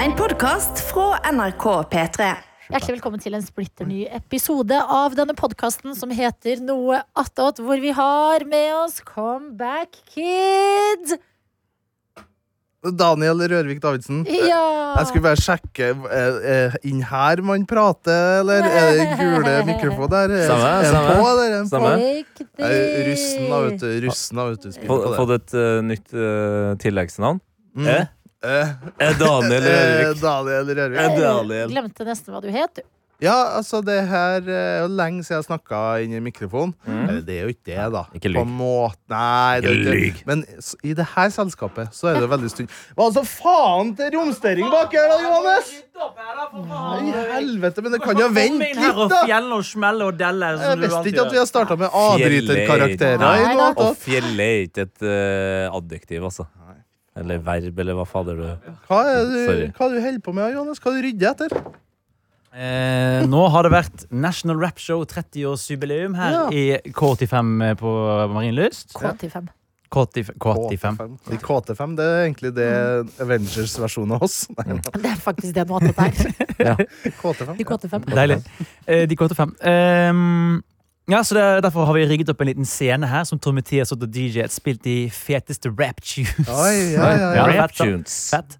En podkast fra NRK P3. Hjertelig velkommen til en splitter ny episode av denne podkasten som heter Noe attåt, hvor vi har med oss Comeback Kid. Daniel Rørvik Davidsen. Ja! Jeg skulle bare sjekke Er det inn her man prater, eller er det gule mikrofon der? Er- Samme, er det samme. på, eller er det på? Samme. Riktig. Jeg er Russen, da, vet du. Russen, da, vet du. Spiller Få- på det. Fått et eh, nytt eh, tilleggsnavn. Mm. Eh? Eh, Eh, Daniel eh, Rørvik. Daniel Rørvik. Eh, Daniel. Glemte nesten hva du het, du. Ja, altså, det her eh, er jo lenge siden jeg snakka inn i mikrofonen. Mm. Eller det er jo ikke det, da. Ikke lyg. På en måte. Nei, det er Ikke ikke lyg. Men s- i det her selskapet så er det veldig stund. Hva altså faen til romstering bak her, da, Johannes? I helvete, men det kan jo vente litt, da! Fjell og smelle og delle. som Jeg du visste alltid ikke at vi gjør. har starta med avbryterkarakterer. Nei, i noe da. Og annet. fjellet er ikke et eh, adjektiv, altså. Eller verb, eller hva fader du Hva er det du, Sorry. hva er det du holder på med, Johannes? Hva er det du rydder etter? Eh, nå har det vært National Rap Show 30-årsjubileum her i K85 på Marienlyst. K85. K85. K85. De KT5, det er egentlig det Mm. Avengers-versjonen av oss. Nei, Det er faktisk det noe attåt er. KT5. De K85. Deilig. Eh, de K85. Ehm, ja, så det, er- Derfor har vi rigget opp en liten scene her som Tommy T har stått og DJ et spilt de feteste rap tunes. Oi, ja, ja, ja. det er Rap fett, da. tunes. Fett.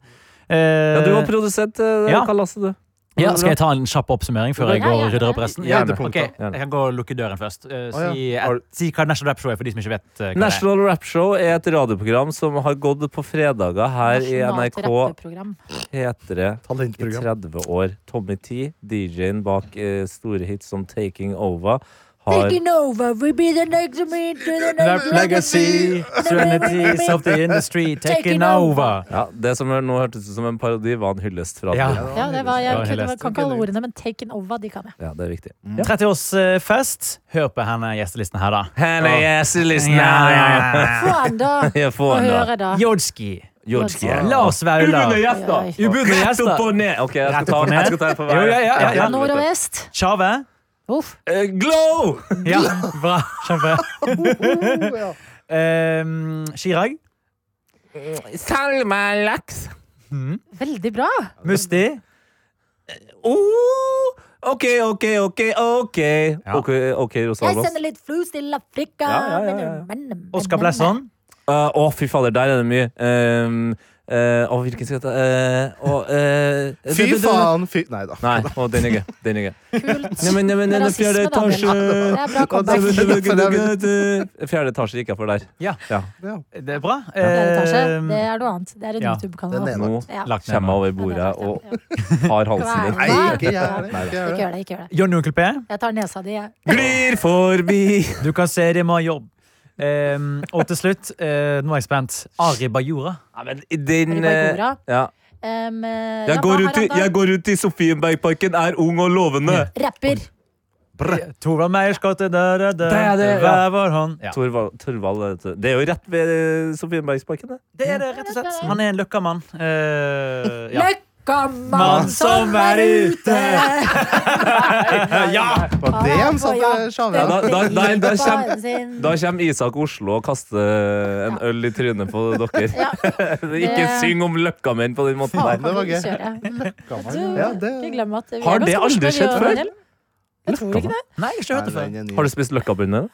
Eh, Ja, du var produsent. eh, Ja. Hva lastet du? Eh, Ja, skal jeg ta en kjapp oppsummering før jeg Ja, går ja, og rydder opp resten? ja. Gjerne. Ok, Gjerne. Jeg kan gå og lukke døren først. Eh, Å, ja. si, eh, Har du- si hva National Rap Show er for de som ikke vet. eh, hva det er. National Rap Show er et radioprogram som har gått på fredager her i Nasjonalt NRK rappeprogram. P3 i Talentprogram. 30 år. Tommy T, DJ-en bak eh, store hits som Taking Over, har Taking over, we be the next me to the next Rap legacy, Serenities of the industry taking over. ja, Det som nå hørtes ut som en parodi, var en hyllest fra Ja. Ja, det var, jeg Ja, jeg kunne, leste. kan ikke alle ordene, men taken over, de kan jeg. Ja, det er viktig. Mm. 30-årsfest. Hør på henne gjestelisten her, da. Henne gjestelisten Få an, da! Jeg Få får den da. høre, da. Jodski. Jodski. Ja. Lars Vaular. gjester. Ubudne Rett opp gjester. og ned. Ok, jeg Rett skal opp ta og den. ned. Jeg skal ta den for hver. Jo, ja, ja, ja. Fra nord og vest. Tjave. Uff. Eh, Glow! Ja, bra. Kjempe. ja. Um, Chirag. Salma Laks. Veldig bra! Musti. Oh, ok, ok, ok, ok. Ja. Ok, ok, Rosa Jeg Alvås. sender litt flus til Afrika. Ja, ja, ja, ja. Men, men, men, Oskar men. Blesson. Eh, Å, fy fader, der er det mye. Um, eh, Å, hvilken skal jeg ta Eh, å, eh, Fy det- det- det- faen, fy Nei da. Nei, å, den er gøy. Den er gøy. Kult. Nei, men, nei, men, Det er den rasisme, fjerde Daniel. etasje Det er bra comeback. Fjerde etasje gikk jeg for der. Det er bra. Fjerde etasje, Um, det er noe annet. Det er en ja. YouTube-kanal. Den er Nå Ja. Lagt ned. kommer jeg over Ja, det er sant, bordet og ja. har halsen din. Hva Nei, er det? ikke gjør Ikke det. Ikke gjør det. gjør det, ikke gjør det. Johnny og Onkel P. Jeg tar nesa di, jeg. Glir forbi. Du kan se det med jobb. Ehm, og til slutt, eh, nå er jeg spent. Ari Bajora. Ja, men den Ribagora. eh, ja. Um, eh, jeg, ja, går hva ut har i, han da? jeg går ut i Sofienbergparken, er ung og lovende. Rapper. Torvald Meyers gate, der, der, der. Det er det, ja. Hver vår hånd. Ja. Torvald, Torvald vet du. Det er jo rett ved eh, Sofienbergsparken, det. Det er det, rett og slett. Han er en løkkamann. Eh, ja. Løkkamann Mann som er ute! ja! Var det en sånn eh, sjave? Ja, da- da- da- da kjem- kjem Da kommer Isak Oslo og kaster eh, en øl i trynet på dere. Ja, Ikke syng om løkka menn på den måten Faen, der. det var gøy. gøy. Ja, Du, det- ikke glem at vi Har er det ganske aldri morsomme, vi skjedd og før? Daniel. Jeg tror ikke det. Nei, jeg har ikke hørt det Nei, før. den er ny. Har du spist løkkabønner? da?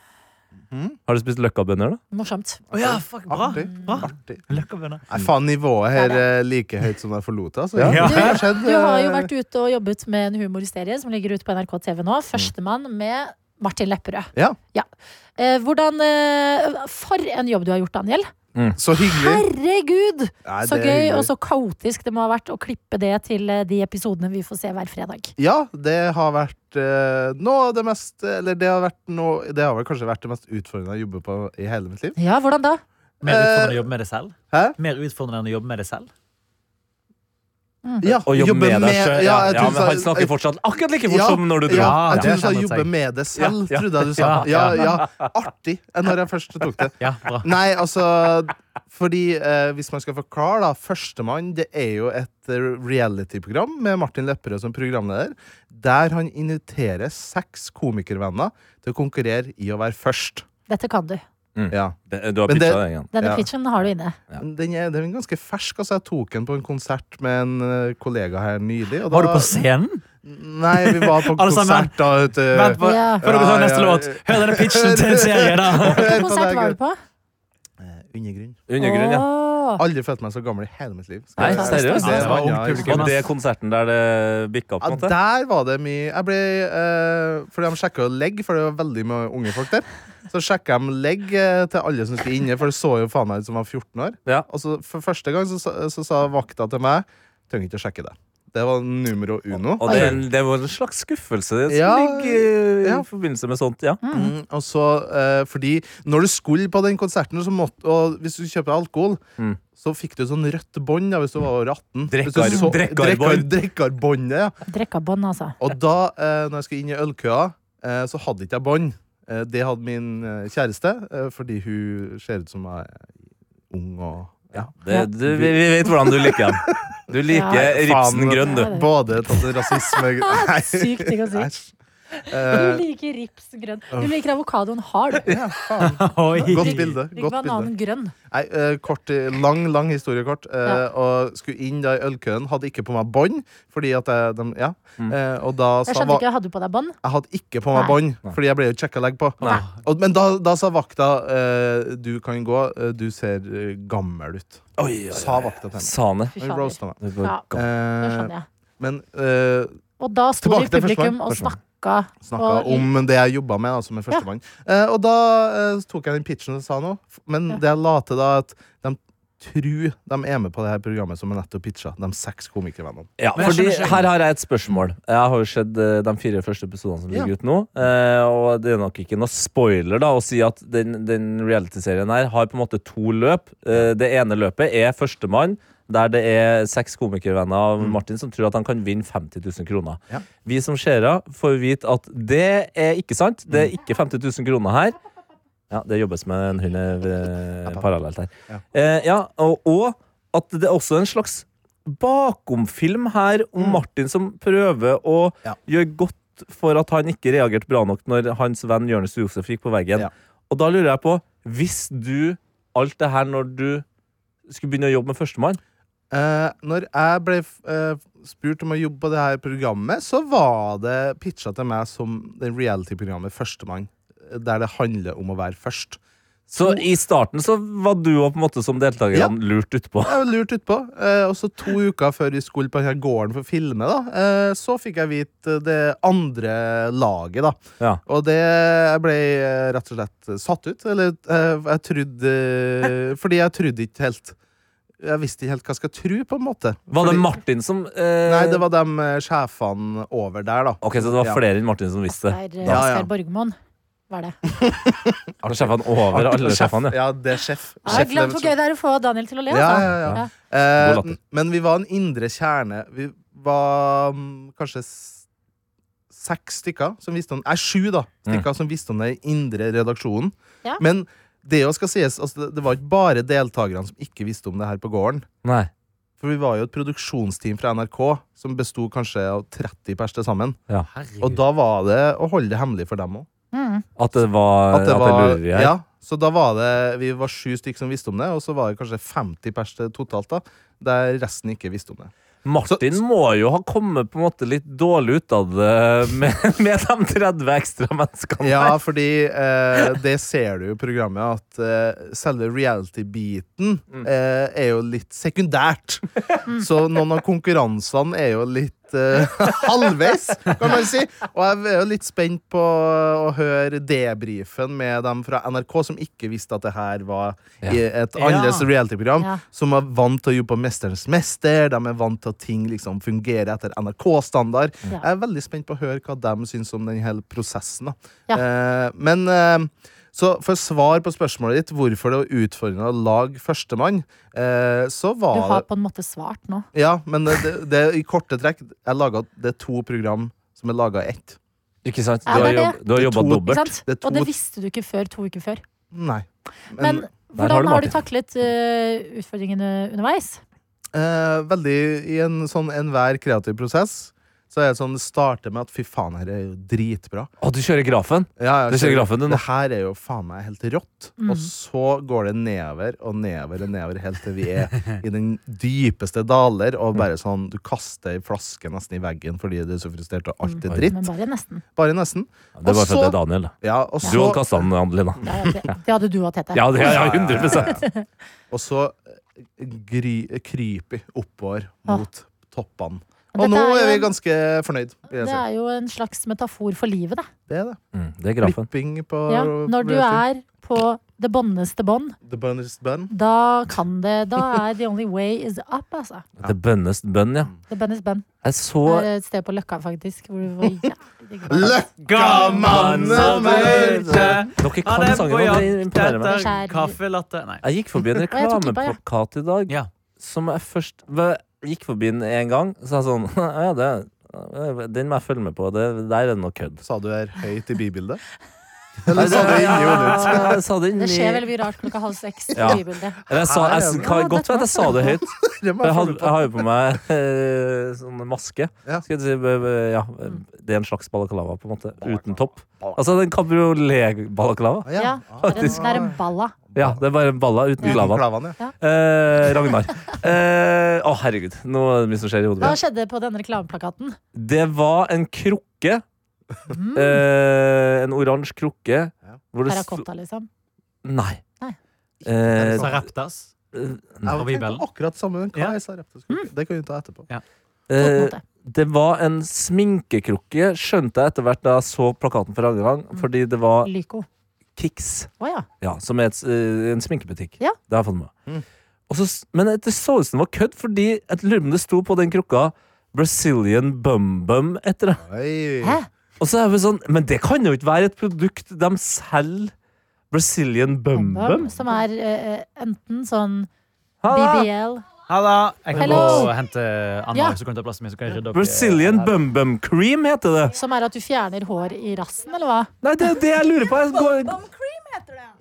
Har du spist løkkabønner, da? Morsomt. Å ja, fuck, bra. Artig. bra. Artig. Løkkabønner. Nei, faen, nivået her er like høyt som jeg forlot det. Altså. Ja. Ja. det har skjedd, Du har jo eh, vært ute og jobbet med en humorhysterie som ligger ute på NRK TV nå. Førstemann med Martin Lepperød. Ja. Eh, hvordan eh, For en jobb du har gjort, Daniel. Så hyggelig. Herregud! Nei, Så det er gøy hyggelig. og så kaotisk det må ha vært å klippe det til eh, de episodene vi får se hver fredag. Ja, det har vært eh, noe av det mest Eller det har, vært noe, det har vel kanskje vært det mest utfordrende jeg jobber på i hele mitt liv. Ja, hvordan da? Mer utfordrende å jobbe med det selv? Hæ? Mer utfordrende enn å jobbe med det selv? Ja, Å jobbe med deg sjøl? Ja, jeg ja, trodde men sa- han snakker fortsatt akkurat like fort Ja, som når du dro. Ja, jeg Ja, trodde du det sa kjenner jeg. 'jobbe med det selv'. Ja, ja. Trodde jeg du sa. Ja, Ja, ja. Artig, eh, når jeg først tok det. Ja, bra. Nei, altså Fordi eh, hvis man skal forklare, da. Førstemann det er jo et eh, reality-program med Martin Lepperød som programleder. Der han inviterer seks komikervenner til å konkurrere i å være først. Dette kan du. Ja. Det- Du har Men det- pitcha det igjen. Denne Ja. pitchen har du inne. Ja. Den, er, den er ganske fersk. Altså, jeg tok den på en konsert med en eh, kollega her nylig. og da- Var du på scenen? Nei, vi var på Alle sammen. konsert da ute. Vent, hva- Ja. før dere Eh, Ja, tar neste ja, låt. ja. Hør denne pitchen til en serie, da. Hør Hvilken på konsert deg, var du gutt. på? Eh, Undergrunn. Undergrunn, ja. Åh. Aldri følt meg så gammel i hele mitt liv. Nei, jeg- seriøst? Ja, Det var ungt ja, jeg- publikum. Og det er konserten der det bikka opp, på Ja, en måte? der var det mye Jeg ble, eh, Fordi de sjekka legg, for det var veldig mye unge folk der. Så sjekka de legg eh, til alle som skulle inne, for det så jo faen meg ut som jeg var 14 år. Ja. Og så for første gang så, sa- så sa vakta til meg Trenger ikke å sjekke det. Det var numero uno. Og det, er en- det var en slags skuffelse som Ja, ligger eh, ja. i forbindelse med sånt, ja. Mm, og så, eh, fordi når du skulle på den konserten, så måtte, og hvis du kjøper alkohol, Mm. så fikk du sånn rødt bånd da, hvis du var over 18. Hvis du Drekkar- så- drekkarbånd. drekkar- Drekkarbåndet, ja. Drekkabånd, altså. Og da, eh, når jeg skulle inn i ølkøa, eh, så hadde ikke jeg bånd. Eh, det hadde min eh, kjæreste, eh, fordi hun ser ut som jeg er ung og ja. Det, du, vi, vi vet hvordan du liker den. Du liker Ja. ripsen Eh, grønn, du. Ja, det- eh, Både tatt en rasisme Nei. Sykt ting å si. Æsj. Du Eh, liker rips grønn. Du liker avokadoen hard. du. ja, faen. Oi. Godt bilde. Liker Godt bilde. bananen grønn. Nei, eh, kort, eh, lang, lang historiekort. Uh, Ja. Og skulle inn da i ølkøen. Hadde ikke på meg bånd, fordi at jeg dem- Ja. Mm. Eh, og da sa Jeg skjønte va- ikke, hadde du på deg bånd? jeg hadde ikke på Nei. meg bånd, fordi jeg ble jo sjekka legg på. Nei. Og, men da, da sa vakta eh, du kan gå, eh, du ser eh, gammel ut. Oi, oi, oi. Sa vakta til henne. Sane. Fy Og hun fader. roasta meg. Det var Ja. gammel. Det Eh, skjønner jeg. men eh, Og da sto du i tilbake til publikum første og Første snakka. snakka Og- om det jeg jobba med, altså med førstemann. Eh, og da eh, tok jeg den pitchen og sa noe, f- men Ja. det jeg la til da, at de tror de er med på det her programmet som jeg nettopp pitcha, de seks komikervennene. Ja, Men jeg fordi skjønner ikke- Her har jeg et spørsmål. Jeg har jo sett eh, de fire første episodene som ligger Ja. ut nå. eh, Og det er nok ikke noe spoiler da å si at den, den realityserien her har på en måte to løp. Eh, Det ene løpet er Førstemann, der det er seks komikervenner av Martin som tror at han kan vinne 50 000 kroner. Ja. Vi som seere får vite at det er ikke sant. Det er ikke 50 000 kroner her. Ja, det jobbes med en hund eh, parallelt her. Ja. Eh, ja, og, og at det er også en slags bakomfilm her om Martin som prøver Mm. å Ja. gjøre godt for at han ikke reagerte bra nok når hans venn Jonis Josef gikk på veggen. Ja. Og da lurer jeg på, hvis du alt det her når du skulle begynne å jobbe med førstemann Eh, når jeg ble eh, spurt om å jobbe på det her programmet, så var det pitcha til meg som det reality-programmet Førstemann, eh, der det handler om å være først. Så i starten så var du jo på en måte som Mm. deltaker Ja. lurt utpå. Jeg var lurt utpå. Eh, og så to uker før vi skulle på denne gården for å filme, da, eh, så fikk jeg vite det andre laget, da. Ja. Og det jeg ble eh, rett og slett satt ut. Eller eh, jeg trodde Fordi jeg trodde ikke helt Jeg visste ikke helt hva jeg skal tro, på en måte. Var det Fordi- Martin som eh, Nei, det var de eh, sjefene over der, da. Ok, så det var Ja. flere enn Martin som visste det. Der, Ja, ja. eh, Oskar Borgmoen var det. Har sjefene over alle sjefene? ja. Ja, det er sjef. Jeg er Sjef, glad det for er gøy det er å få Daniel til å le. Ja, altså. ja, ja. Ja. Eh, God latter. n- men vi var en indre kjerne. Vi var mm, kanskje s- seks stykker som visste om Nei, sju da, stykker som visste om den indre redaksjonen. Ja. Men det jo skal sies, altså, det- det var ikke bare deltakerne som ikke visste om det her på gården. Nei. For vi var jo et produksjonsteam fra NRK som besto kanskje av 30 pers til sammen. Og da var det å holde det hemmelig for dem òg. Mm. At det var, at det var- lurer i her. ja, så da var det Vi var sju stykker som visste om det, og så var det kanskje 50 pers til totalt, da, der resten ikke visste om det. Martin Så- må jo ha kommet på en måte litt dårlig ut av det med, med de 30 ekstra menneskene. Ja, der. fordi eh, det ser du jo i programmet, at eh, selve reality-biten eh, er jo litt sekundært. Så noen av konkurransene er jo litt eh, halvveis, kan man si. Og jeg er jo litt spent på å høre debrifen med dem fra NRK som ikke visste at det her var Ja. i et annerledes reality-program. Ja. Som er vant til å jobbe på Mesterens mester, de er vant til at ting liksom fungerer etter NRK-standard. Ja. Jeg er veldig spent på å høre hva de syns om den hele prosessen. Da. Ja. Eh, men eh, så for svar på spørsmålet ditt hvorfor det var utfordrende å lage førstemann, eh, så var Du har det på en måte svart nå. Ja, men det, det, det i korte trekk jeg laget, Det er to program som er laga i ett. Ikke sant? Du Ja, har, det er jobb, du Det har er jobba to- Ikke dobbelt. sant? Det er to- Og det visste du ikke før to uker før. Nei. Men Der har hvordan du har du Martin. taklet eh, utfordringene underveis? Eh, veldig i en sånn enhver kreativ prosess Så er det sånn, det starter med at fy faen, her er jo dritbra. Å, du kjører grafen? Ja, ja, Du ser så- grafen din nå. Det her er jo faen meg helt rått. Mm. Og så går det nedover og nedover og nedover helt til vi er i den dypeste daler. Og bare sånn, du kaster ei flaske nesten i veggen fordi du er så frustrert, og alt Mm. er Men dritt. bare nesten. Bare nesten. Det var Og fordi det så- er Daniel. da. Ja, og Du hadde så, kasta den, Adelina. Ja, ja, det, det hadde du hatt, Tete. Ja, det ja, ja, 100 og så eh, gry, kryper vi oppover mot toppene. Dette Og nå er jo er vi en- ganske fornøyd. vil jeg Det si. er jo en slags metafor for livet, det. Det er det. mm, Det er grafen. Klipping på Ja, når du er på det båndeste bånd, The bonus bun. da kan det Da er the only way is up, altså. Det er bønnes bønn, ja. The Bennis Bun. Jeg så Det er et sted på Løkka, faktisk. Hvor det var jævlig digg mat. Gammann som hørte Dere Han kan er på sangen, og det jakt imponerer meg. etter kaffelatte Nei. Jeg gikk forbi en Ja, jeg tok den på, ja. reklameplakat i dag Ja. som jeg først hva- Gikk forbi den en gang, så jeg sånn Ja, det den må jeg følge med på. Det, der er det noe kødd. Sa du er høyt i bibildet? Eller sa du inni hodet ditt? Ja, jeg sa Det det inni skjer veldig mye rart klokka halv seks. i Ja. bybildet. Eller Jeg sa, jeg, kan godt være at jeg sa det høyt. Det må jeg For Jeg, få har- lov jeg har jo på meg eh, sånn maske. Ja. Skal jeg si, eh, eh, ja, eh, det er en slags balaklava, på en måte. Uten topp. Altså en kabriolet-balaklava. på. Ja, det er en, det er en balla. Ja, det er bare en balla uten Uten lava. klavene, ja. Eh, Ragnar. Eh, Å, herregud. Nå er det mye som skjer i hodet Hva mitt. skjedde på denne reklameplakaten? Det var en krukke. Mm. Eh, en oransje krukke. Hvor det sto Terrakotta, liksom. Nei. Nei. Eh, Sareptas. Nei. Jeg tenkte akkurat samme, men hva Ja. er sareptoskop? Det kan vi ta På etterpå. en eh, måte. det var en sminkekrukke, skjønte jeg etter hvert da jeg så plakaten for andre gang, fordi det var Lyco. Kix, Å ja. ja, som er et, eh, en sminkebutikk. Ja. Det har jeg fått med meg. Mm. Og så s- Men det så ut som det var kødd, fordi jeg lurer på om det sto på den krukka Brazilian Bum Bum etter det. Oi. Hæ? Og så er vi sånn Men det kan jo ikke være et produkt de selger. Brazilian Bum Bum? Bum, som er eh, enten sånn Halla! BBL Halla. Jeg kan gå Hello. og hente Anna, Ja. så kan du ta plassen min. Så kan jeg rydde opp. i- Brazilian Bum Bum Cream heter det. Som er at du fjerner hår i rassen, eller hva? Nei, det er det jeg lurer på. Jeg går...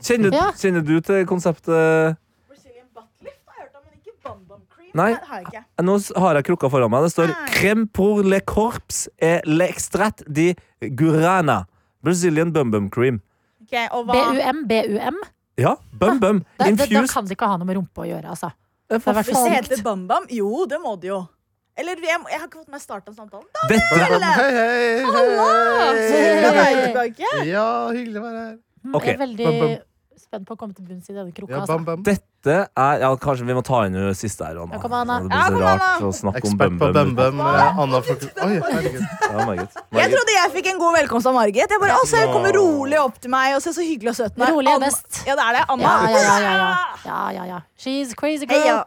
Kjenner, Ja. kjenner du til konseptet Brazilian butt lift har jeg hørt om, men ikke bum bum cream. Nei. Det har jeg ikke. Nå s- har jeg krukka foran meg. Det står Nei. 'Crème pour le corps et l'extrait de Gurana'. Brazilian bum bum cream. Ok, og hva, BUM, BUM. Ja, bum bum. Da, da, da Infused. kan Ah, det ikke ha noe med rumpe å gjøre, altså. Det er for det er hvis det faen- heter bum bum, jo, det må det jo. Eller jeg, jeg har ikke fått meg starta samtalen. Da, Dette Eller- Hei, hei, da Halla! hei. er jeg tilbake. Ja, hyggelig å være her. Mm, Ok, Jeg er veldig bum, bum. spent på å komme til bunns i denne krukka. Ja, Altså. bam, bam. dette er Ja, kanskje vi må ta inn hun siste her, Anna. Ja, kom, Anna. Det blir Ja, så kom, Anna. rart å snakke om Ekspert bum på bum. bam, bam. eh, Anna Folk- Oi, herregud. Ja, Margit. Jeg Margit. trodde jeg fikk en god velkomst av Margit. Jeg bare, altså, jeg kommer rolig opp til meg og ser så hyggelig og søt ut. Rolig er best. Ja, det er det. Anna. Ja, ja, ja, ja, ja. ja, ja, ja. She's crazy girl. Heia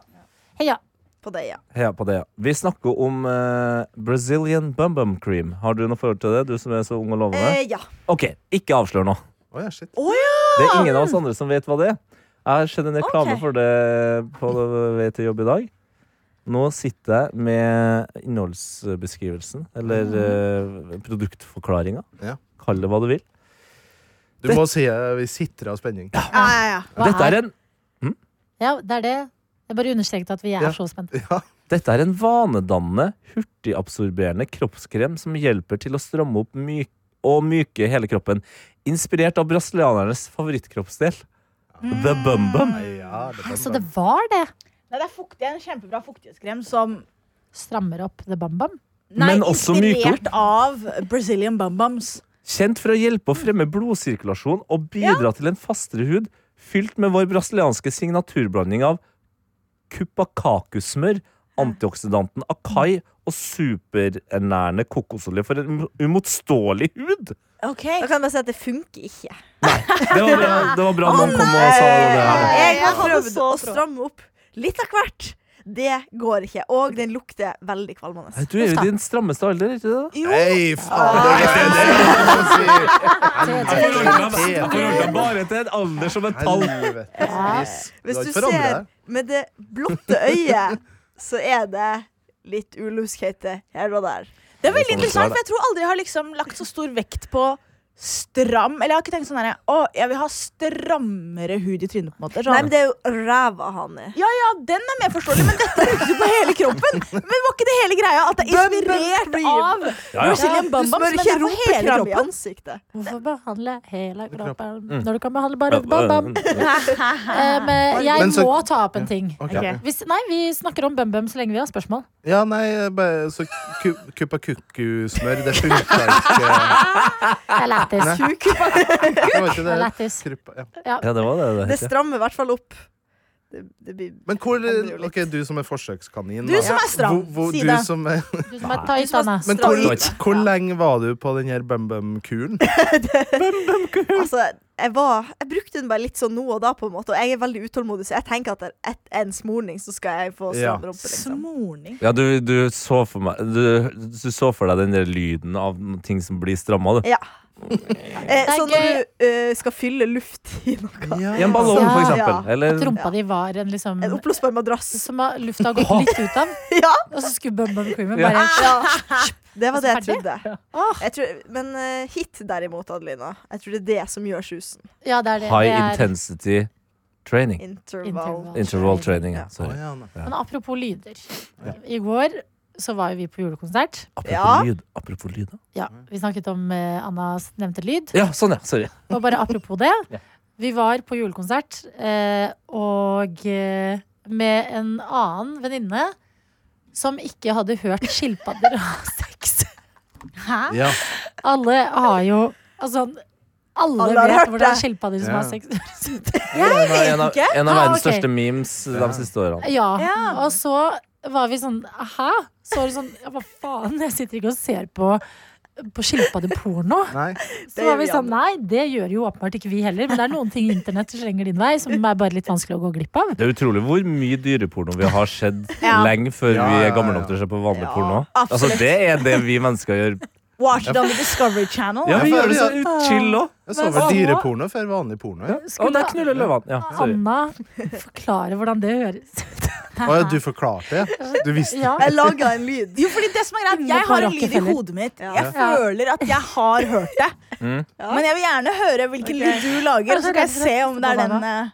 Heia. på deg, ja. Heia på det. ja. Vi snakker om eh, Brazilian bum bum cream. Har du noe forhold til det, du som er så ung og lovende? Eh, ja. Ok, ikke avslør nå. Oi, ja, shit. Å ja! Det er ingen av oss andre som vet hva det er. Jeg har sett en reklame Ok. for det på vei til jobb i dag. Nå sitter jeg med innholdsbeskrivelsen, eller eh, produktforklaringa. Ja. Kall det hva du vil. Du må si eh, vi sitter av spenning. Ja, ja, ja. Hva Dette er- er en, Ja, det er det. Jeg bare understreket at vi er Ja. så spent. Ja. dette er en vanedannende, hurtigabsorberende kroppskrem som hjelper til å stramme opp myk og myke hele kroppen. Inspirert av brasilianernes favorittkroppsdel, the bum bum. Nei, ja, det er bam, Så det bam. var det. Nei, det er fuktig, en kjempebra fuktighetskrem som Strammer opp the bam-bam. Nei, Men også inspirert av Brazilian bum bums. Kjent for å hjelpe å fremme blodsirkulasjon og bidra til en fastere hud, fylt med vår brasilianske signaturblanding av kupakakusmør, antioksidanten acai og superernærende kokosolje for en um- umotståelig hud. Okay. Da kan jeg bare si at det funker ikke. Det var bra, det var bra noen kom og sa det her. Nei. Jeg Jeg har prøvde prøvd å å trå. stramme opp litt av hvert. Det går ikke. Og den lukter veldig kvalmende. Nei, Du er jo i din strammeste alder, ikke det? Jo, Hei, faen! Det er det jeg må si. Jeg forholder meg bare til en alder som et tall. Helvetes gris. Du hvis har du ikke forandret ser deg. med det blotte øyet, så er det litt uluskete her og der. Det er veldig sånn det er, interessant, for jeg tror aldri jeg har liksom lagt så stor vekt på stram Eller jeg har ikke tenkt sånn her Å, jeg vil ha strammere hud i trynet, på en måte. Sånn. Nei, men det er jo ræva han er. Ja, ja, den er mer forståelig, men dette brukte du på hele kroppen. Men var ikke det hele greia at det er inspirert av Ja, ja. Brazilian Bam Bams, Du smører men det er på ikke hele rumpekrabbe i kroppen? liksom. ansiktet. Hvorfor behandle hele kroppen Mm. når du kan behandle bare et bam-bam? Um, eh, jeg Men så- må ta opp en ting. Ok. Ok. Hvis, nei, vi snakker om bum-bum så lenge vi har spørsmål. Ja, nei, bare så ku, kuppa kukkusmør, det funka ikke. Det er lættis. Det var ikke Det er det. lættis. Kruppa, ja. Ja, det var det det Det het, ja. strammer i hvert fall opp. Det, det blir Men hvor Det blir jo Ok, du som er forsøkskanin. Du da. som er stram, Hvor- hvor- si du det. som er- Du som er tight, Anna. Men hvor, Stram. hvor lenge var du på den her bum-bum-kuren? Altså, jeg, var, jeg brukte den bare litt sånn nå og da, på en måte. Og jeg er veldig utålmodig, så jeg tenker at etter en smorning så skal jeg få Ja. stram rumpe. Liksom. Smorning. Ja, du, du, så for meg, du, du så for deg den der lyden av ting som blir stramma, du. Ja. Eh, er så når gøy. du eh, skal fylle luft i noe I en ballong, Ja. for eksempel. Ja. At Eller rumpa di var en liksom En oppblåsbar madrass. som har- lufta har gått litt ut av, Ja. og så skulle bum-bum-creamen Ja. bare Ah! Ja. Det var det jeg Altså, Ferdig? trodde. Jeg tror, men eh, hit derimot, Adelina, jeg tror det er det som gjør susen. Ja, det er det. high det er intensity training. Interval. Interval training. Ja. Ja. Sorry. Å, ja, nei. Men apropos lyder. I går så var jo vi på julekonsert. Apropos Ja. lyd. Apropos lyd. da. Ja, Vi snakket om eh, Annas nevnte lyd. Ja, sånn, ja. Sorry. Og bare apropos det. Ja. Vi var på julekonsert, eh, og eh, med en annen venninne som ikke hadde hørt skilpadder ha sex. Ja. Alle har jo Altså, alle, Alle har vet hørt hvordan det. skilpadder som Ja. har sex En av, en av, en av Ah, ok. verdens største memes de siste årene. Ja. Og så var vi sånn Hæ? Så var det sånn ja, Hva faen? Jeg sitter ikke og ser på på skilpaddeporno. Nei. Så var gjør vi vi sånn, andre. nei, det gjør jo åpenbart ikke vi heller. Men det er noen ting internett slenger din vei som er bare litt vanskelig å gå glipp av. Det er utrolig hvor mye dyreporno vi har sett lenge før Ja, vi ja, er ja, gamle nok ja. til å se på vanlig Ja, porno. Altså, absolutt. det er det vi mennesker gjør. Watch it on the Discovery Channel. Ja, vi Ja, gjør det så ja. ut- chill òg. Jeg så vel dyreporno før vanlig porno. Ja. Å, der knuller løvene. Ja, sorry. Anna forklare hvordan det høres ut. Å, ja, du forklarte det? Du visste Ja. Jeg laga en lyd. Jo, fordi det som er greit, Inne Jeg på har en lyd i Rockefeller. hodet mitt. Ja. Jeg føler at jeg har hørt det. Mm. Men jeg vil gjerne høre hvilken lyd du lager, og så skal jeg se om det er den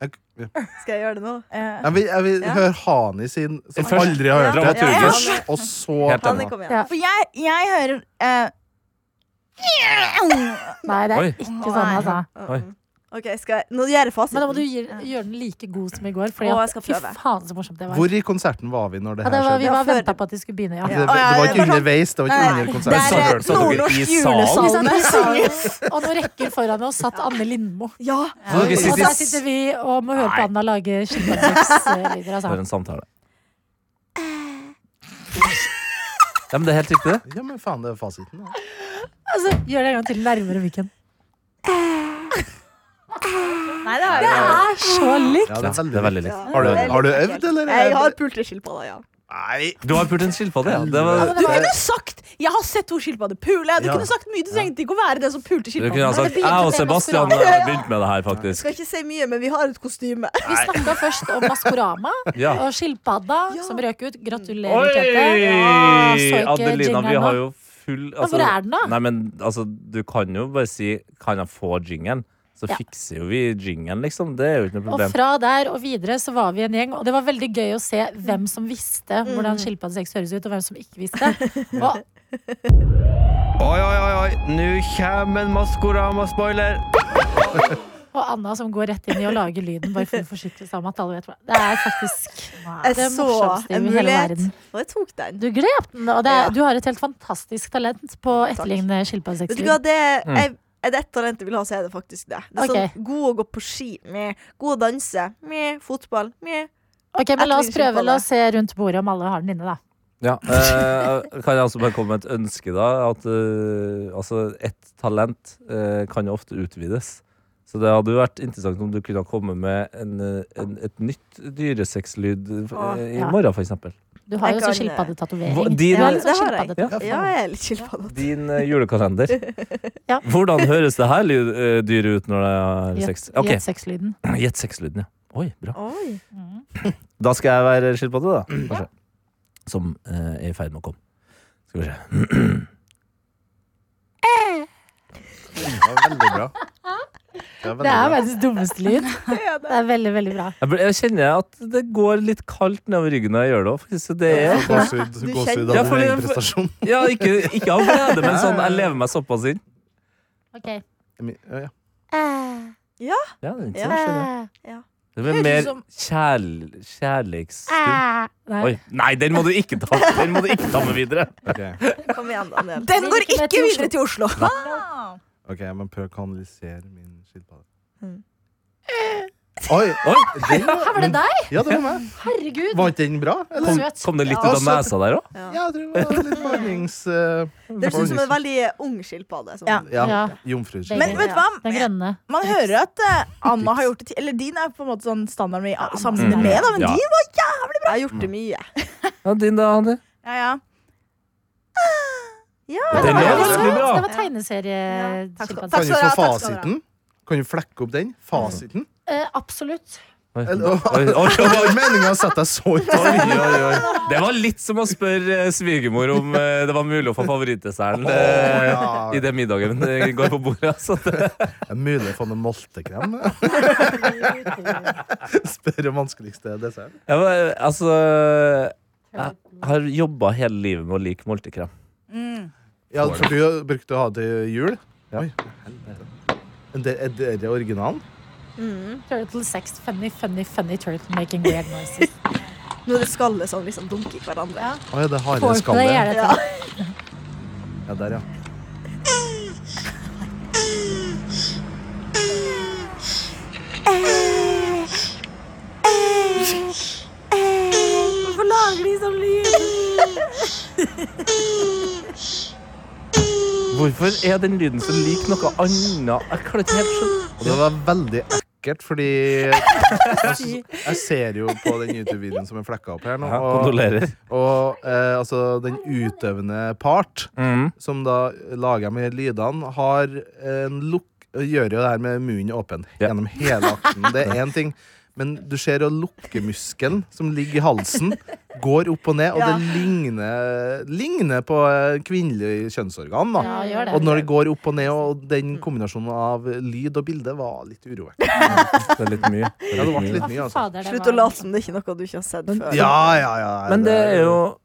Jeg, ja. Skal jeg gjøre det nå? eh, eh, jeg vil, jeg vil høre Hani sin, som Først- aldri har hørt det. Dramaturgisk. først, Og så Helt Hanne, ennå. kom igjen. For jeg, jeg hører eh, Nei, det er Oi. ikke sånn, altså. Oi. OK, skal jeg, nå gir jeg Men da må du fasiten. gi- gjøre den like god som i går. Fordi Å, at, jeg skal fy prøve. faen så morsomt det var. Hvor i konserten var vi når det ja, det her var vi skjedde? Det var var før- venta på at de skulle begynne, Det, ja. det, Å, det ja, var det var ikke sånn- underveis, det var Nei, ikke nei. under Det eh, konserten. Satt er- dere- satt dere nordnorsk i julesalme. Vi salen? satt i salen, og noen rekker foran oss satt Anne Lindmo. Så Ja. dere Og sitter der i sitter vi og må høre på Anna lage eh, skilpaddesex-lyder. Altså. For en samtale. Ja, men det er helt riktig, det. Ja, men faen, det er fasiten. da. Altså, gjør det en gang til nærmere mikken. Nei, det har jeg ikke. Det er så likt! Ja, det er Det er veldig veldig likt. Har du, har du øvd, eller? Jeg har pulterskilpadder, ja. Nei. Du har pult en skilpadde, ja. Det var, Du kunne sagt 'Jeg har sett to skilpadder pule'. Du Ja. kunne sagt mye. Du trengte ikke å være den som pulte du kunne altså- ha skilpadden. sagt Jeg og Sebastian har begynt med det her, faktisk. Skal ikke si mye, men vi har et kostyme. Vi snakka først om Maskorama Ja. og skilpadda som røk ut. Gratulerer, Oi! Tete. Ja, så ikke Adelina, jingeren vi har nå. jo full hvor er den da? Nei, men altså, du kan jo bare si Kan jeg få jingeren? Så Ja. fikser jo vi jingeren, liksom. Det er jo ikke noe Og problem. fra der og videre så var vi en gjeng, og det var veldig gøy å se hvem som Mm. visste hvordan skilpaddesex høres ut, og hvem som ikke visste. Og Oi, oi, oi, oi. Nå kommer en Maskorama-spoiler. Og Anna som går rett inn i å lage lyden bare for å forsikre seg om at alle vet hva det er. faktisk Jeg det så morsomste i en hele mulighet, verden. og jeg tok den. Du grep den, og det er, Ja. du har et helt fantastisk talent på å etterligne Vet du hva, skilpaddesex. det jeg, er det ett talent jeg vil ha, så er det faktisk det. det er Ok. sånn, god å gå på ski, meh. god å danse, meh. fotball. Meh. Ok, men La oss Etterligne prøve, la skilpadde. oss se rundt bordet om alle har den inne, da. Ja, eh, kan jeg også bare komme med et ønske, da? At eh, altså, ett talent eh, kan jo ofte utvides. Så det hadde jo vært interessant om du kunne komme med en, eh, en, et nytt dyresexlyd eh, i ja. morgen, for eksempel. Du har jo Jeg sånn kan, eh, Hva- skilpaddetatovering. de- Du er litt det sånn har jeg. skilpadde. Ja, jeg er litt skilpadde. Din eh, julekalender. Ja. Hvordan høres det her lyd, eh, dyret ut når det Gjett- er sex? Ok, gjett sexlyden. Gjett sexlyden, ja. Oi, bra. Oi. Da skal jeg være skilpadde, da. Kanskje. Som eh, er i ferd med å komme. Skal vi se. Det var veldig bra. Det er Det er veldig bra. verdens dummeste lyd. Det er veldig, veldig bra. Jeg, ble, jeg kjenner at det går litt kaldt nedover ryggen når jeg gjør det òg, faktisk. Så Det er Gåsehud gåsehud Ja, av for din det- egen prestasjon. Ja, ikke, ikke av glede, men sånn jeg lever meg såpass inn. Ok. Ja, ja. Eh, Ja, det er ikke Ja. sånn, skjønner jeg. eh, Det blir Høres ut mer som- kjærl... kjærlighetsstund. eh. Nei. Oi. Nei, den må du ikke ta Den må du ikke ta med videre. Ok, Kom igjen, Daniel. Den går Vi gikk med ikke til videre til Oslo. ok, jeg må prøve å kanalisere min skilpadde. Mm. Oi! Oi, Den var, Var det deg? ja, det var meg. Herregud. Var ikke den bra? Eller? kom, Søt. kom det litt ut av Ja. nesa der òg? Ja, jeg tror det var litt varnings... eh, Det høres ut som en varnings- veldig ung skilpadde. Sånn. Ja. Ja, Ja. Men jomfruskilpadde. vet du hva? Den grønne. Man hører at eh, Anna har gjort det til Eller din er på en måte sånn standarden vi ah, sammenligner Mm. med, da, men Ja. din var Jeg har gjort det mye. Ja, din da, Anne. ja, ja. Den Det er var, ganske bra. det var Takk skal- tegneserieskilpadde. Kan takk vi skal få dere ha, takk skal dere ha. fasiten? Kan du flekke opp den? Fasiten? Eh, absolutt. Oi, Eller- oi, oi, Det oi. var meninga å sette deg så ut. Oi, oi, oi. Det var litt som å spørre eh, svigermor om eh, det var mulig å få favorittdesserten eh, ja. i det middagen eh, går på bordet. altså. Det- Er det mulig å få noe moltekrem? Spør om vanskeligste dessert. Ja, men, altså Jeg har jobba hele livet med å like multekrem. Ja, for du brukte å ha til jul? Oi, helvete. Men det- Er det, er det originalen? Turtle sex, funny, funny, funny turtle making weird noises. Nå er det skallet som liksom dunker i hverandre. Å ja, det er Foreplay er hareskallet. dette. Ja, der, ja. Hvorfor lager de sånn lyd? Hvorfor er den lyden så lik noe annet? Jeg klarer ikke helt skjønne. Og det var veldig ekkelt, fordi jeg, jeg ser jo på den YouTube-videoen som er flekka opp her nå. Ja, Og, Kondolerer. og eh, altså den utøvende part, Mm. som da lager med lydene, har en lukk Gjør jo det her med munnen åpen Ja. gjennom hele akten. Det er én ting. Men du ser jo lukkemuskelen som ligger i halsen, går opp og ned, og det ligner, ligner på eh, kvinnelig kjønnsorgan. da. Ja, gjør det. Og når det går opp og ned, og den kombinasjonen av lyd og bilde var litt urovekkende. Det er litt mye. Det Ja, det er ble litt mye. litt mye, altså. Fader, det Slutt var- å late som det ikke er noe du ikke har sett før. Ja, ja, ja. Men det er jo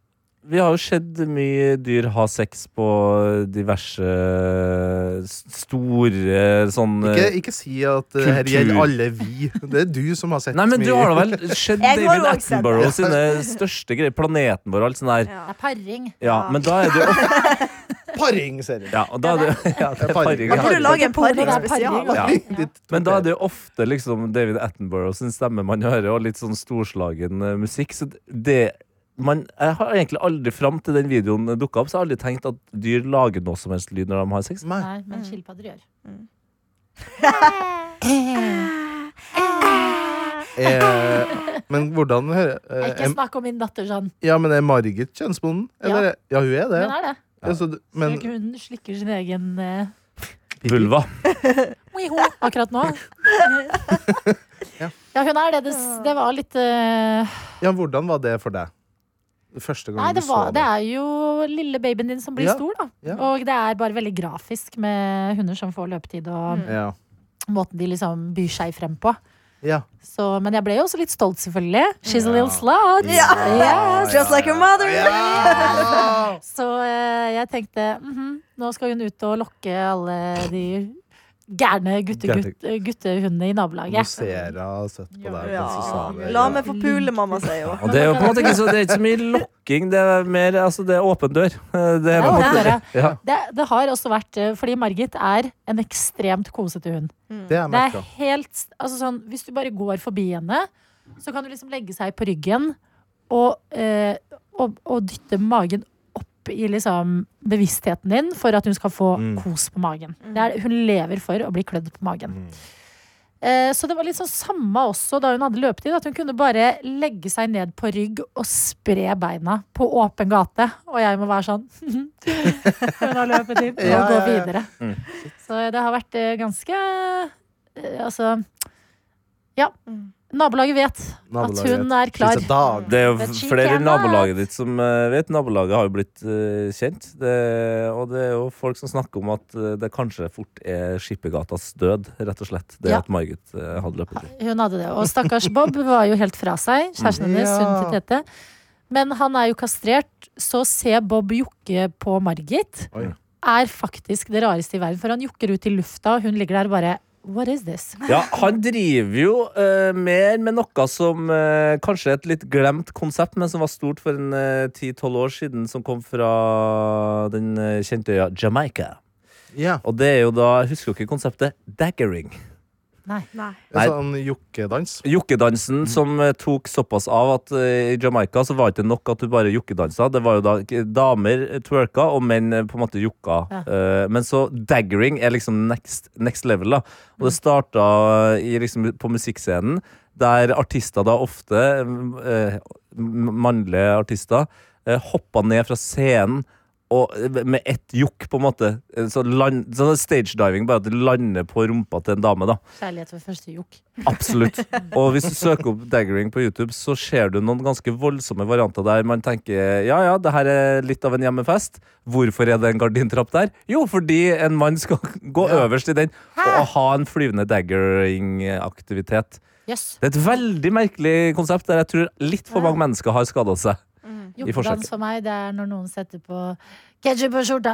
Vi har jo sett mye dyr ha sex på diverse eh, s- store sånn Ikke, ikke si at det her Kultur. gjelder alle vi. Det er du som har sett Nei, men du har da vel sett Jeg har David også sett det. Attenborough sine største greier. Planeten vår og alt sånt Det der. er paring. Ja, men da er det jo Paring-serien. Ja, og da er det, ja, det er paring. Jeg burde lage en Porno, det er paringsspesial. paring. Ja. Men da er det jo ofte liksom David Attenborough sin stemme man hører, og litt sånn storslagen eh, musikk. Så det man, Jeg har egentlig aldri fram til den videoen dukka opp, så har jeg aldri tenkt at dyr lager noe som helst lyd når de har sex. Nei. Nei, Mm. men skilpadder gjør. Eh, men hvordan hører eh, Ikke snakk om min datter sånn. Ja, men er Margit kjønnsbonden? Eller? Ja, hun er det. Hun er det. Ja, så, du- men Slik hun slikker sin egen eh, Vulva. wiho akkurat nå. Ja. Ja, hun er det. Det, s- det var litt eh, ja, hvordan var det for deg? Første gang Nei, du det, så var, det er jo lille babyen din som blir Ja, stor, da. ja. Og det er bare veldig grafisk med hunder som får løpetid, og Mm. Ja. måten de liksom byr seg frem på. ja. Så, men jeg ble jo også litt stolt, selvfølgelig. She's a little slut. Ja. Just like your mother. Ja! Så eh, jeg tenkte mhm, nå skal hun ut og lokke alle de gærne gutte, Gærne. gutt- guttehundene i Nå nabolaget. ser jeg søtt på deg. Ja. mens du sa det. La meg få pule, mamma sier jo. Og det er jo på en måte ikke så, det er ikke så mye lokking, det er mer altså, det er åpen dør. Eh, Det Ja, er på en det er måte, det. ja. Det, det har også vært eh, Fordi Margit er en ekstremt kosete hund. Det er Det er merka. helt altså sånn, Hvis du bare går forbi henne, så kan du liksom legge seg på ryggen og, eh, og, og dytte magen opp i liksom bevisstheten din for at hun skal få Mm. kos på magen. Det er, hun lever for å bli klødd på magen. Mm. Eh, så det var litt sånn samme også da hun hadde løpetid, at hun kunne bare legge seg ned på rygg og spre beina på åpen gate. Og jeg må være sånn Hun har løpetid, og Ja, gå ja, ja. videre. Mm. Så det har vært eh, ganske eh, Altså Ja. Nabolaget vet at Nabolaget. hun er klar. She's a dog. Det er jo But she flere i cannot. nabolaget ditt som eh, vet. Nabolaget har jo blitt eh, kjent. Det, og det er jo folk som snakker om at eh, det kanskje fort er Skippergatas død, rett og slett. Det Ja. at Margit eh, hadde løpetid. Hun hadde det. Og stakkars Bob var jo helt fra seg. Kjæresten hennes, Ja. hun til Tete. Men han er jo kastrert, så ser Bob jokke på Margit. Oi. Er faktisk det rareste i verden, for han jokker ut i lufta, og hun ligger der og bare What is this? Ja, han driver jo eh, mer med noe som eh, kanskje er et litt glemt konsept, men som var stort for en eh, ti-tolv år siden, som kom fra den eh, kjente øya Jamaica. Ja. Og det er jo da, husker dere konseptet daggering? Nei. En sånn jokkedans. Jokkedansen som eh, tok såpass av at eh, i Jamaica så var det ikke nok at du bare jokkedansa. Det var jo da k- damer eh, twerka og menn eh, på en måte jokka. Eh, men så daggering er liksom next, next level, da. Og det starta i, liksom, på musikkscenen, der artister da ofte, eh, m- mannlige artister, eh, hoppa ned fra scenen. Og eh, med ett jokk, på en måte. Eh, Så, land, så det er stage diving, bare at det lander på rumpa til en dame. da Kjærlighet ved første jokk. Absolutt. Og hvis du søker opp daggering på YouTube, så ser du noen ganske voldsomme varianter der man tenker ja ja, det her er litt av en hjemmefest. Hvorfor er det en gardintrapp der? Jo, fordi en mann skal gå øverst i den og ha en flyvende daggering-aktivitet. Jøss. Det er et veldig merkelig konsept der jeg tror litt for mange mennesker har skada seg. I forsøket. Jokkedans for meg, det er når noen setter på ketsjup på skjorta,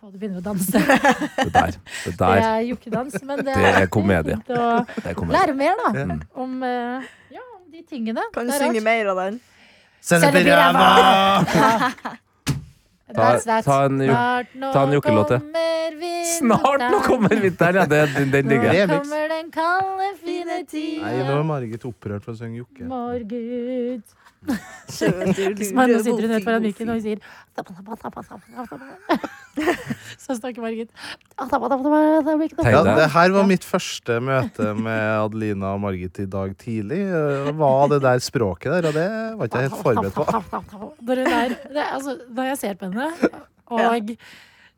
og du begynner å danse. Det der. Det Det der. er jokkedans, men det, Det er komedie. fint å Det kommer. lære mer, da. Mm. Om, eh, ja, om de tingene. Kan du Det er synge rart. mer av den? Sennep i Sennep i ræva! Ta, That's that. ta en jo Snart nå ta en jokkelåt, ja. kommer vinteren. Snart nå kommer vinteren! Ja, det- den, den Nå ligger jeg. Remix. kommer den kalde, fine tida. Nei, nå er Margit opprørt for å synge jokke. Vår Gud. Men nå sitter hun rett foran mikken og Nei, hun sier Så snakker Margit. Tenk Ja, deg. det her var mitt første møte med Adelina og Margit i dag tidlig. Det var det der språket der, og det var ikke jeg helt forberedt på. Når, hun er, det, er altså, når jeg ser på henne og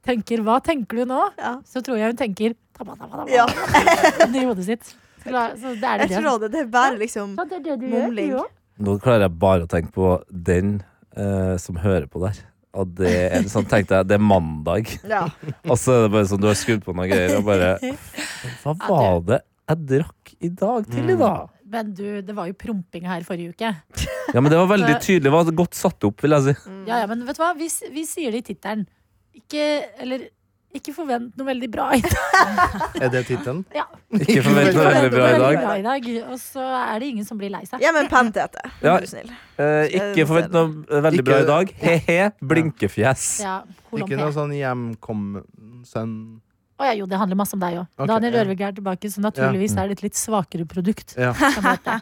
tenker 'hva tenker du nå', Ja. så tror jeg hun tenker tabba, tabba, tabba, Ja. i hodet sitt. Så la- så det er det Jeg tror det, det er bare liksom det er det du Mumling. du også. Nå klarer jeg bare å tenke på den eh, som hører på der. Og det er sånn, tenkte jeg, det er mandag, Ja. og så er det bare sånn du har skrudd på noen greier, og bare Hva var det Mm. jeg drakk i dag tidlig, da? Men du, det var jo promping her forrige uke. Ja, men det var veldig tydelig. Det var godt satt opp, vil jeg si. Mm. Ja, ja, men vet du hva? Vi, s- vi sier det i tittelen. Ikke, eller ikke forvent noe veldig bra i dag. Er det tittelen? Ja. Ikke forvent noe veldig bra i Veldig dag. bra i dag. Og så er det ingen som blir lei seg. ja, men penn til dette. Ja. Vær så snill. Eh, ikke forvent noe veldig bra i dag. He-he, blinkefjes. Ja, kolon Ikke P. noe sånn hjemkommen sønn Å ja, jo, det handler masse om deg òg. Ok, Daniel ja. Rørvik er tilbake, så naturligvis er det et litt svakere produkt. Ja. Som heter.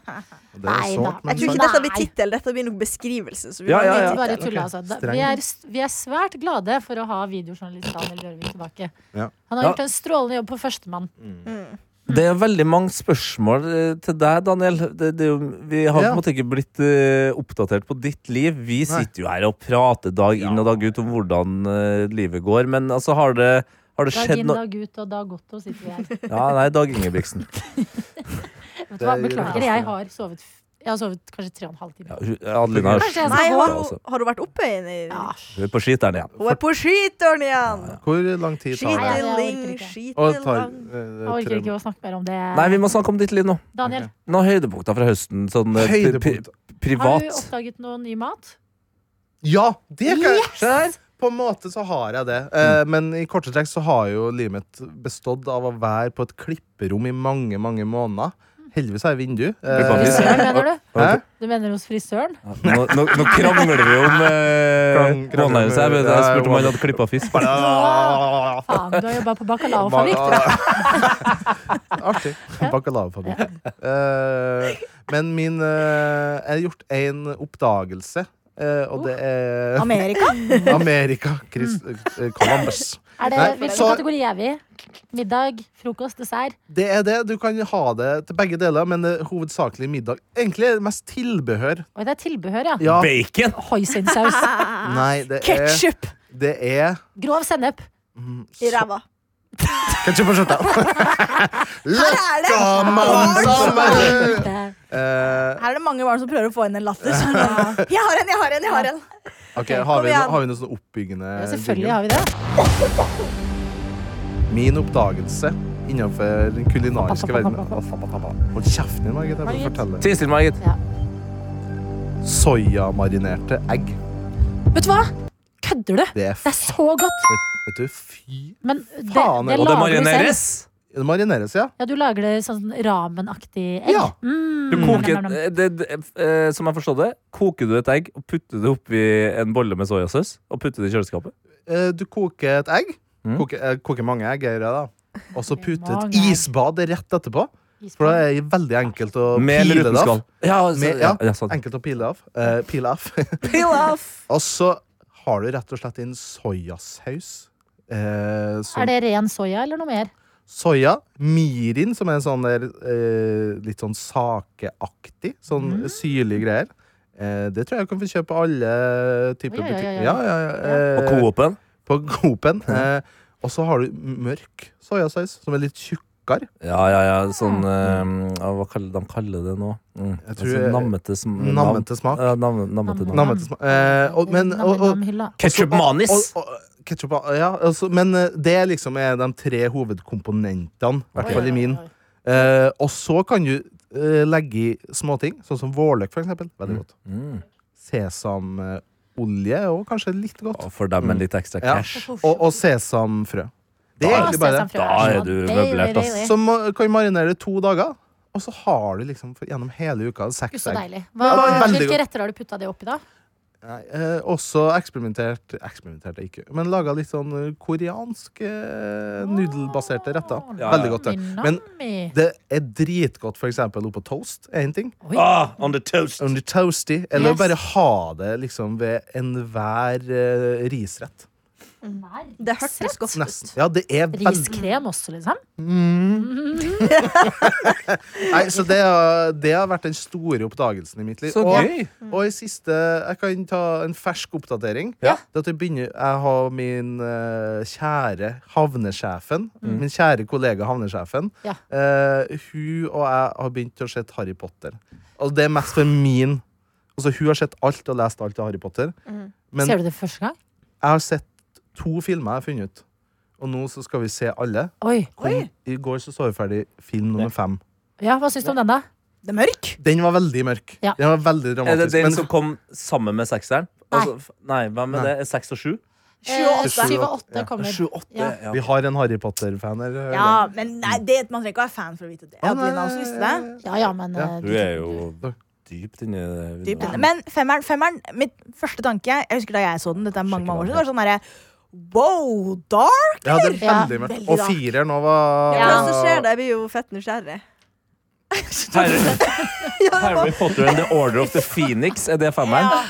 Det er Nei, sårt, da. men Jeg tror sant. ikke dette blir Nei. tittel, dette blir nok beskrivelsen. Så vi Ja, må ha ja, en ja. ny Bare tittel. tull, altså. Da- Streng. Vi er, vi er svært glade for å ha videojournalist Daniel Rørvik tilbake. Ja. Han har Ja. gjort en strålende jobb på Førstemann. Mm. Det er veldig mange spørsmål eh, til deg, Daniel. Det, det, er jo- vi har på Ja. en måte ikke blitt eh, oppdatert på ditt liv. Vi sitter jo her og prater dag inn og dag ut om hvordan eh, livet går, men altså, har det, har det Dag skjedd inn, noe dag ut og dag otto sitter vi her. Ja, nei, Dag Ingebrigtsen. Vet du hva, Det gjør beklager, det. jeg har sovet Jeg har sovet kanskje tre og en halv Ja, time. hun- Adelina Kanskje jeg Nei, skal gå? har, altså. hun- har hun vært oppe inn i Ja. hun er på skiteren igjen. Hun er på skitøren igjen! Hvor lang tid tar jeg det? orker Skitling, ikke. Å, det tar, skitlang. eh, Jeg orker tre- ikke å snakke mer om det. Nei, vi må snakke om ditt liv nå. Daniel, Noen høydepunkter fra høsten. Sånn eh, pri- pri- Høydepunkt. har du privat. oppdaget noe ny mat? Ja, det kan jeg! Se her. På en måte så har jeg det. Mm. Eh, men i korte trekk så har jo livet mitt bestått av å være på et klipperom i mange, mange måneder. Heldigvis har jeg vindu. Eh, Klippa frisør. Frisøren, mener du? hæ? Du mener hos frisøren? Nå, nå, nå krangler vi om Krang- eh, krangler om- Bonhaus her. men Jeg spurte om han hadde klippa fisk. Bra. Faen, du har jobba på bacalaofabrikk. Artig. Bacalaofabrikk. Eh, men min eh, Jeg har gjort én oppdagelse, eh, og Uh. det er Amerika? Amerika. Chris, eh, Columbus. Er det, Nei, hvilken så- kategori er vi i? Middag, frokost, dessert? Det er det. Du kan ha det til begge deler, men det er hovedsakelig middag. Egentlig er det mest tilbehør. Oi, det er tilbehør, ja. Ja, Bacon! Hoisinsaus. nei, det er Ketchup Det er Grov sennep. I ræva. Ketsjup på skjorta. Løkka mannsdamer! Eh, Her er det mange barn som prøver å få inn en latter. Sånn, ja. Jeg har en, jeg har en, jeg har en. ok, har, kom vi, igjen. har vi noe sånn oppbyggende Ja, selvfølgelig har jingle? vi det. Min oppdagelse innenfor den kulinariske verden Hold kjeften din, Margit. Jeg må fortelle. Ti stille, Margit. Soyamarinerte egg. Vet du hva? Kødder du? Det Det er er f... så godt. Vet du, fy Men det, Faen, det og Og det lager du selv. marineres. Det marineres, ja. Ja, du lager det sånn ramenaktig egg. Ja. Mm. Du koker, Nam, nam, nam. det, det, eh, som jeg forstod det, koker du et egg og putter det oppi en bolle med soyasaus og putter det i kjøleskapet. Eh, Du koker et egg. Mm. Koker, eh, koker mange egg, gjør jeg da. Og så Det er putter mange et egg. isbad rett etterpå. Eh, For da er det veldig enkelt å Med eller pile uten det av. skall. Ja, altså, Med- ja. ja. ja, sant. Enkelt å pile av. Eh, pile av. og så har du rett og slett inn soyasaus. Eh, som Er det ren soya eller noe mer? Soya. Mirin, som er en sånn der eh, litt sånn sakeaktig. Sånn Mm. syrlig greier. Eh, det tror jeg du kan få kjøpe på alle typer Oi, oi, oi, butikker. oi. Ja, ja, ja. Og eh, Coop-en. på Mm. Coop-en. Eh, og så har du mørk soyasaus, som er litt tjukkere. Ja, ja, ja. Sånn eh, ja, Hva kaller de kaller det nå? Mm. Jeg Altså, tror- nammete sm Nammete smak. nam- Eh, Ja, nam, nammete nam. Nam- Nammete smak. Eh, og, men, og, og, Namhylla. Ketchup manis. Og- og- Ketchup, ja, altså, men eh, det liksom er de tre hovedkomponentene, i hvert fall i min. Eh, og så kan du eh, legge i småting, sånn som vårløk, for eksempel. Veldig godt. Mm. Sesamolje er også kanskje litt godt. Og for dem med litt ekstra Ja. cash. Og, og sesamfrø. Det er Da- egentlig bare det. Da er du møblert, ass. Så må- kan du marinere to dager, og så har du liksom for, gjennom hele uka Gud, seks så egg. deilig. Ja, det Hva, var veldig hvilke godt. retter har du putta det oppi, da? Nei, eh, også eksperimentert Eksperimentert er ikke, men laga litt sånn eh, koreansk eh, nudelbaserte retter. Ja, Veldig ja. godt. det. Men Men Det er dritgodt for eksempel oppå toast. er en ting. Ah, on the toast. Under toasty. Eller Yes. bare ha det liksom ved enhver eh, risrett. Det hørtes godt Nesten. Ja, det er veldig Riskrem også, liksom? Nei, så det, har- det har vært den store oppdagelsen i mitt liv. Så Og, gøy! Mm. og i siste Jeg kan ta en fersk oppdatering. Ja. Det at jeg begynner Jeg har min eh, kjære havnesjefen, min kjære kollega havnesjefen, Mm. Ja. eh, hun og jeg har begynt å se Harry Potter. Og det er mest for min Altså, hun har sett alt og lest alt av Harry Potter. Men Mm. Ser du det første gang? jeg har sett to filmer jeg har funnet ut. Og nå så skal vi se alle. Oi. Kom, I går så så vi ferdig film nummer fem. Ja, hva syns du om den, da? Det er mørk. Den var veldig mørk. Ja. Den var veldig Er det dramatisk. den men- som kom sammen med sekseren? Altså, f- nei, hvem er Nei. det? Seks og sju? Eh, åtte. Syv og åtte Ja. kommer. Sju, åtte? Ja. Ja. Vi har en Harry Potter-fan her. eller? Ja, men nei, det, man trenger ikke være fan for å vite det. Å, nei, Adelina også visste det. Ja, ja, men Ja. eh, Du er jo dypt inni det. Dypt inne. Men femmeren, femmeren, mitt første tanke Jeg husker da jeg så den, dette er mange, mange år siden, var sånn herre Wow, dark! Ja, det er Ja, veldig mørkt. veldig Og rart. fireren nå var Ja. Ja. Hva var- som skjer der, blir jo fett nysgjerrig. Harry, Harry Potter and the Order of the Phoenix, er det femmeren?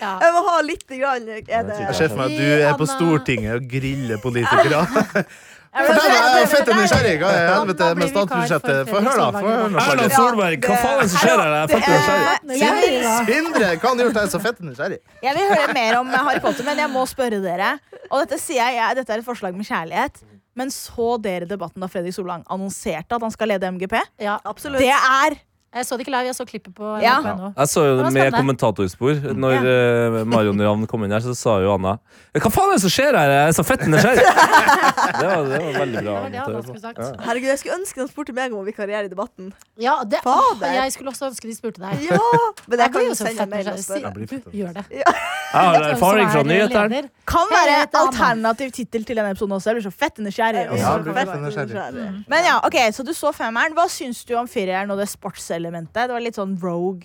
Jeg må ha litt grann er det. Jeg ser for meg at du er på Stortinget og griller politikere. Fortell meg, jeg er fett nysgjerrig! Hva er helvete med statsbudsjettet? Få høre, da! Få høre nå, Erna folkens. Solberg, hva faen er det som skjer her? Jeg Det fatter ikke. er- jeg, vil, Sindre, hva har han gjort deg så fett nysgjerrig? jeg vil høre mer om Harry Potter, men jeg må spørre dere. Og dette sier jeg, jeg dette er et forslag med kjærlighet. Men så dere debatten da Fredrik Solang annonserte at han skal lede MGP? Ja. Absolutt. Det er Jeg så det ikke live, jeg så klippet på Ja. NRK.no. Jeg så Det jo var med spennende. kommentatorspor Når eh, Marion Ravn kom inn her, så sa jo Anna "Eh, Hva faen er det som skjer her? Jeg er så fett nysgjerrig! Det, var- det var veldig bra. Det var det han skulle kommentar. sagt. Ja. Herregud, jeg skulle ønske de spurte meg om å vikariere i debatten. Ja, det, Fader. jeg skulle også ønske de spurte deg. Ja, Men jeg blir kan jo jo så sende fett en mail og nysgjerrig. spørre. Jeg blir Si- fett Du gjør det. Jeg Vet har hvem erfaring som fra sånn er nyhetene. leder? Kan Hei, være jeg heter et Anna. alternativ tittel til denne episoden også. Jeg blir så fett nysgjerrig. og Ja, så jeg blir fett fett nysgjerrig. nysgjerrig. Men ja, ok, Så du så femmeren. Hva syns du om fireren og det sportselementet? Det var litt sånn rogue.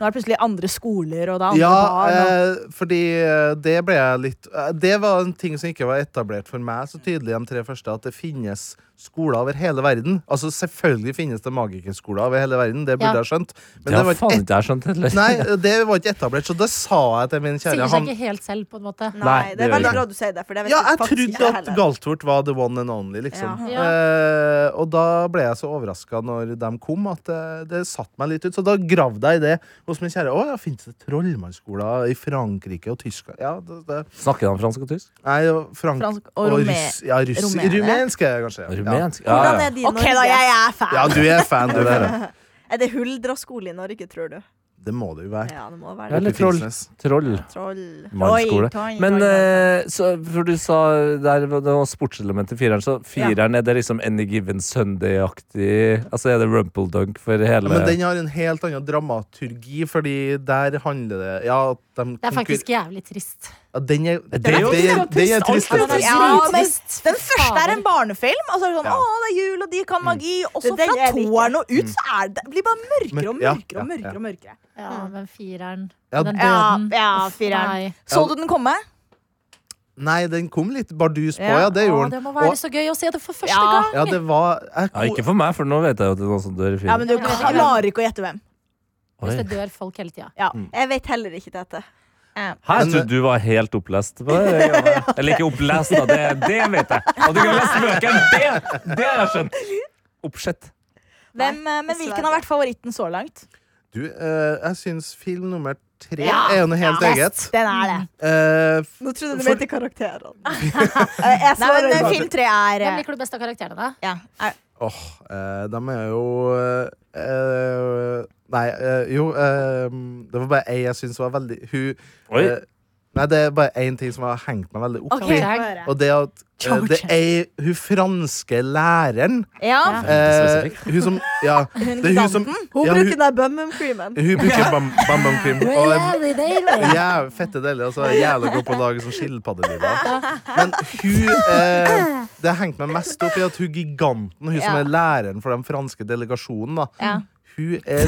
Nå er det plutselig andre skoler og da andre Ja, barn. Og... eh, fordi eh, det ble jeg litt eh, Det var en ting som ikke var etablert for meg så tydelig de tre første, at det finnes skoler over hele verden. Altså Selvfølgelig finnes det magikerskoler over hele verden, det Ja. burde jeg skjønt. Men Det det har var, ikke faen et, ikke jeg skjønt heller. nei, det var ikke etablert, så det sa jeg til min kjære. Sier seg Han, ikke helt selv, på en måte. Nei, Nei, det det er gjør veldig det bra du sier det. For det vet ja, jeg jeg faktisk ikke trodde at heller. Galtvort var the one and only, liksom. Ja. Eh, og da ble jeg så overraska når de kom, at eh, det satte meg litt ut. Så da gravde jeg i det hos min kjære. Å ja, fins det trollmannsskoler i Frankrike og Tyskland? Ja, det, det. Snakker han fransk og tysk? Nei, og Frank... Fransk og rome- russ- ja, russ, romene. rumensk, er det kanskje. Ja. Rumensk? Ja, Hvordan ja. er de i Ok, da, Norge? jeg er fan. ja, du er fan, du. Det, Er det huldra skole i Norge, tror du? det må det jo være. Ja, det Ja, må være det. Eller troll. Finnsnes. Troll. Troll. Mannsskole. Oi, toin, Men toin, eh, så, for du sa der var det noe sportselement i fireren, så fireren er det liksom Any Given Sunday-aktig Altså er det Rumpeldunk for Ja, hele men den har en helt annen dramaturgi, fordi der handler det Ja, at de Det er konkur- faktisk jævlig trist. ja, Den er, den, er jo- den er, den er trist. Alt er vet du. Ja, men drittrist. den første er en barnefilm. Og så er det sånn, Ja. å, det er jul, og de kan magi. Og så Den er fra det ikke. toeren og ut, så er det, blir det bare mørkere og Men- ja, mørkere og ja, mørkere. og mørkere. Ja, men fireren. Ja, Den Ja, døden. ja, Uff, fireren. nei. Så du den komme? Nei, den kom litt bardus på, Ja. ja, det Å, det gjorde den. må være Og- så gøy å se det for første Ja. gang! ja, det var jeg, Ja, ikke for meg, for nå vet jeg jo at det er noen som dør i Ja, fireren. men du Jeg vet kan- ikke. klarer ikke å gjette hvem. Oi. Hvis det dør folk hele tida. Ja, jeg vet heller ikke dette. Hæ, jeg Men- trodde du var helt opplest. på det. Eller ikke opplest, da. Det, det vet jeg. At du ikke har lest bøkene, det, det har jeg skjønt. Oppsett. hvem eh, men hvilken har vært favoritten så langt? du, eh, jeg syns film nummer tre Ja, er jo noe helt ja. eget. Den er det. Eh, f- Nå trodde du For- mente karakterene. Jeg Nei, men eh, film tre er Hvem eh, liker du best av karakterene? ja. er- Åh, eh, de er jo eh, eh, Nei, eh, jo eh, Det var bare ei jeg syns var veldig Hun Oi. eh, Nei, det er bare én ting som har hengt meg veldig opp. Ok, Chang. få høre. Og det er at eh, det er hun franske læreren Ja, Ja. eh, Hun som Ja, hun det er hun som giganten. Hun ja, bruker hun, den der bumham-creamen. hun bruker bam- bam bam cream. Og eh, jeg Ja, fette deilig. Altså, jævla god på å lage sånn skilpaddeliver. Men hun eh, Det hengte meg mest opp i at hun giganten, hun som Ja. er læreren for den franske delegasjonen, da, Ja. hun er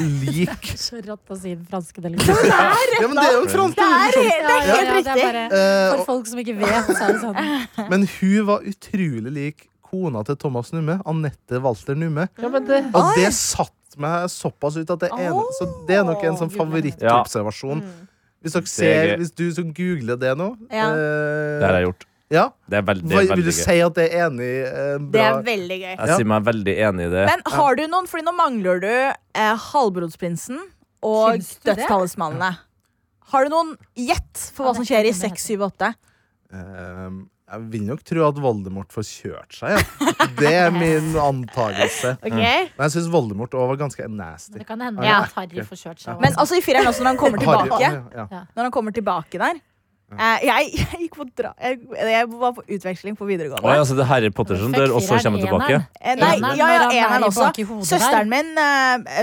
lik Så rått å si den franske delegasjonen. Ja, men det er jo en fransk Det er delegasjon! helt, det er helt det er riktig. bare Eh, For folk som ikke vet, så er det sånn. og, men hun var utrolig lik kona til Thomas Numme, Anette Walter Numme. Og det satt meg såpass ut at det er, så det er nok en sånn favorittobservasjon. Hvis dere ser, Mm. gøy. hvis du som googler det nå Ja. eh, Det har jeg gjort. ja, Det er veldig, det Hva, er vil du veldig gøy. si at det er enig? eh, Det bra? er veldig gøy. Jeg sier meg veldig enig i det. Men har du noen? Fordi nå mangler du eh, Halvbrodsprinsen og Syns du det? Dødstallismannene. Har du noen gjett for hva Ja, som det skjer i kan jeg 6, 7, 8? Ehm, jeg vil nok tro at Voldemort får kjørt seg. Ja. Det er min antakelse. Men jeg syns Voldemort òg var ganske nasty. Det kan hende Ja. at Harry får kjørt seg. Men altså i fireren også, når han kommer Harry- tilbake. ja. Når han kommer tilbake der eh, jeg, jeg gikk på dra jeg, jeg var på utveksling på videregående. Oi, altså, det er Harry Potter som dør, og så kommer han tilbake. Eh, Nei, Eneren, når han ja, ja, er eneren i også. bak i sånn hodet der. Søsteren min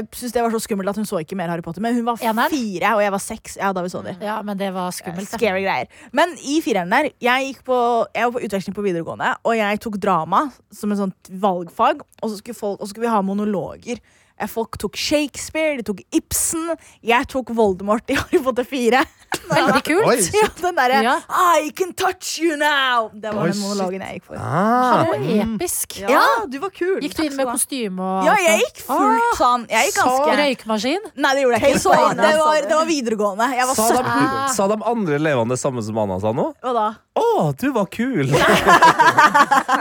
uh, syntes det var så skummelt at hun så ikke mer Harry Potter. Men hun var Eneren? fire, og jeg var seks. Ja, da vi så de. Ja, men det var skummelt. da. Scary greier. Men i fireren der, jeg, gikk på, jeg var på utveksling på videregående, og jeg tok drama som et sånt valgfag, og så skulle, folk, og så skulle vi ha monologer. Eh, Folk tok Shakespeare, de tok Ibsen. Jeg tok Voldemort i Harry Potter 4. Veldig Oi, kult. Ja, den derre Ja. I can touch you now! Det var Oi, den monologen jeg gikk for. Ah, Han var Mm. mm. episk. Ja, du var kul. Gikk du inn med Ah. kostyme og Ja, jeg gikk fullt sånn. Jeg gikk ganske Røykmaskin? Nei, det gjorde jeg ikke. Så, det, var, det var videregående. Jeg var Sa sø- de, sa de andre elevene det samme som Anna sa nå? Hva da? Å, du var kul!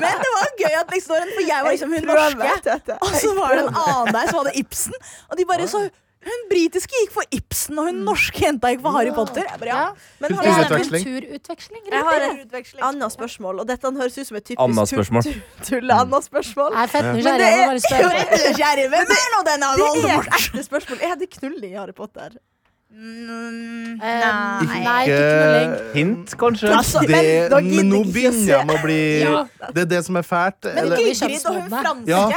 Men det var gøy at liksom, når en- for jeg var liksom hun Tror jeg norske. vet dette. Og så var det en annen der som hadde Ibsen. Og de bare så Hun britiske gikk for Ibsen, og hun norske jenta gikk for Harry Potter. Jeg bare, ja. Men har Det er jeg, Kulturutveksling. Kulturutveksling? jeg riktig. har et annet spørsmål, og dette høres ut som et typisk Anna-spørsmål. tulle-Anna-spørsmål. Jeg er fett Men nysgjerrig. det Jeg må bare er, spørre. Jeg er Nysgjerrig. Hvem er nå denne det er Voldemort? et ekte spørsmål. Er det knulling i Harry Potter? Mm, Eh, Nei. Nei, ikke knulling. Hint, kanskje? Altså, Det, da gidder men nå jeg ikke begynner se. jeg med å bli Ja. Det er det som er fælt. men eller- Gygrid og hun franske. Ja.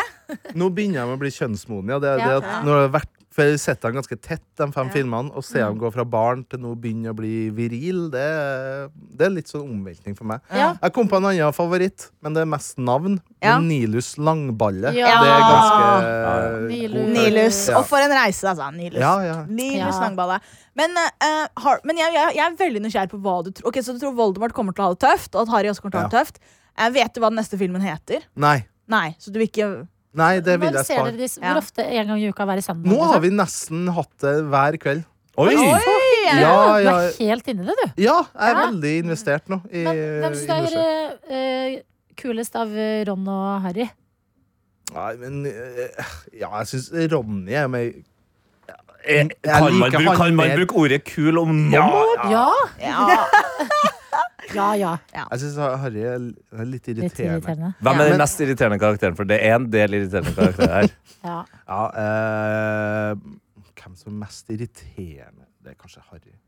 Nå begynner jeg med å bli kjønnsmoden. Ja. Det er, Ja. det at når jeg har vært, for jeg setter dem ganske tett, de fem filmene, og ser Mm. dem gå fra barn til nå begynner å bli viril, det, er- det er litt sånn omveltning for meg. Ja. Jeg kom på en annen favoritt, men det er mest navn. Ja. Men Nilus Langballe. Ja. Det er ganske eh, Nilus. god- Nilus. Ja. Og for en reise, altså. Nilus. Ja, ja. Nilus Ja. Langballe. Men, eh, har, men jeg, jeg, jeg er veldig nysgjerrig på hva du tror. Ok, Så du tror Voldemort kommer til å ha det tøft, og at Harry også kommer til å ha det tøft. Eh, vet du hva den neste filmen heter? Nei. Nei, så du vil ikke Nei, det vil Når jeg ser spare. dere disse? Ja. Hvor ofte en gang i uka hver søndag? Nå har vi nesten hatt det hver kveld. Oi! ja, Ja, Du ja, er helt inni det, du. ja jeg er Ja. veldig investert nå. I, Men hvem i syns du Nordsjøen. er eh, kulest av eh, Ron og Harry? Nei, men eh, Ja, jeg syns Ronny er med Eh, Kan liker man, bruke, kan han man mer. bruke ordet kul om noen? Ja! Ja. Ja, Ah, ja. Jeg syns Harry er l- er litt Litt irriterende. irriterende. Hvem Ja, er men- den mest irriterende karakteren? For det er en del irriterende karakterer her. Ja. Ja, eh, hvem som er mest irriterende? Det er kanskje Harry.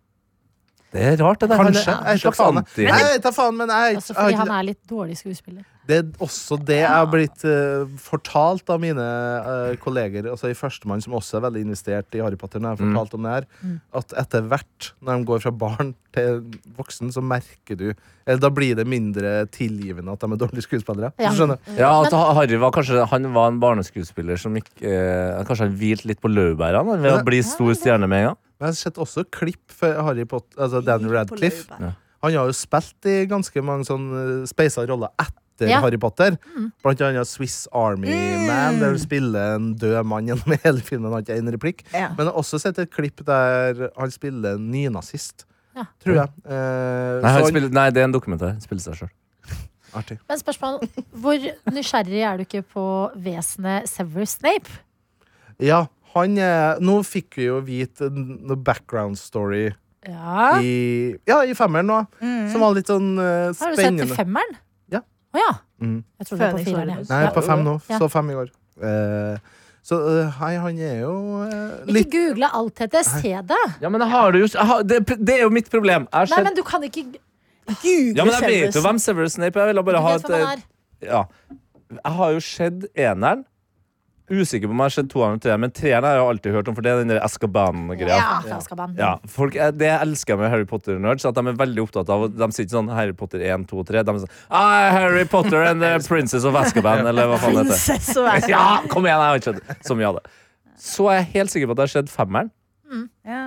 Det er rart, det der. Han er- Kanskje. Jeg vet da slags faen, anti- jeg. Jeg vet da faen, men jeg, Også jeg, fordi han er litt dårlig skuespiller. Det er også det jeg har blitt eh, fortalt av mine eh, kolleger altså i Førstemann, som også er veldig investert i Harry Potter. Når jeg har fortalt om det her, Mm. At etter hvert, når de går fra barn til voksen, så merker du eller Da blir det mindre tilgivende at de er dårlige skuespillere. Ja. Du skjønner? Ja, at Harry var kanskje Han var en barneskuespiller som ikke eh, Kanskje han hvilte litt på laurbærene ved å bli stor stjerne med en gang. Men jeg har sett også klipp for Harry Potter, altså Daniel Radcliffe. Ja. Han har jo spilt i ganske mange sånne eh, speisa roller etter Ja. Mm. Harry Potter. Blant annet Swiss Army Man, der du spiller en død mann gjennom hele filmen. Han har ikke en replikk. Ja. Men jeg har også sett et klipp der han spiller en nynazist. Ja. Tror jeg. Eh, Nei, så han han- spiller, nei, det er en dokumentar. Han spiller seg sjøl. Artig. Men spørsmål, hvor nysgjerrig er du ikke på vesenet Severus Snape? Ja, han eh, Nå fikk vi jo vite n- noe background story Ja. Mm. i Ja, i femmeren nå. Som var litt sånn eh, Har du sett spennende. femmeren? Ja. Å ja. Mm. Jeg tror det var på Phoenix fireren. Origins. Ja. Nei, på fem nå. Ja. Så fem i går. Eh, så eh, hei, han er jo eh, Ikke litt google alt dette, se det. Ja, men jeg har det jo jeg har, det, det er jo mitt problem. Jeg har Nei, sett- men du kan ikke ja, men jeg vet jo hvem Severus Snape er. Jeg ville Du bare ha vet et hvem han eh, er. ja. Jeg har jo sett eneren. Usikker på om jeg har sett toeren og treeren, men treeren har jeg jo alltid hørt om, for det er den der Eskaban-greia. Ja, fra Azkaban. Ja, folk, er- Det elsker jeg med Harry Potter-nerds. At De er veldig opptatt av De sier ikke sånn Harry Potter 1, 2, 3. De er sånn ah, Harry Potter and the Princess of Azkaban, eller hva faen det heter. Prinsesse og Azkaban. Ja, kom igjen, jeg har ikke sett så mye av det. Så er jeg helt sikker på at det har skjedd femmeren. Mm, Ja.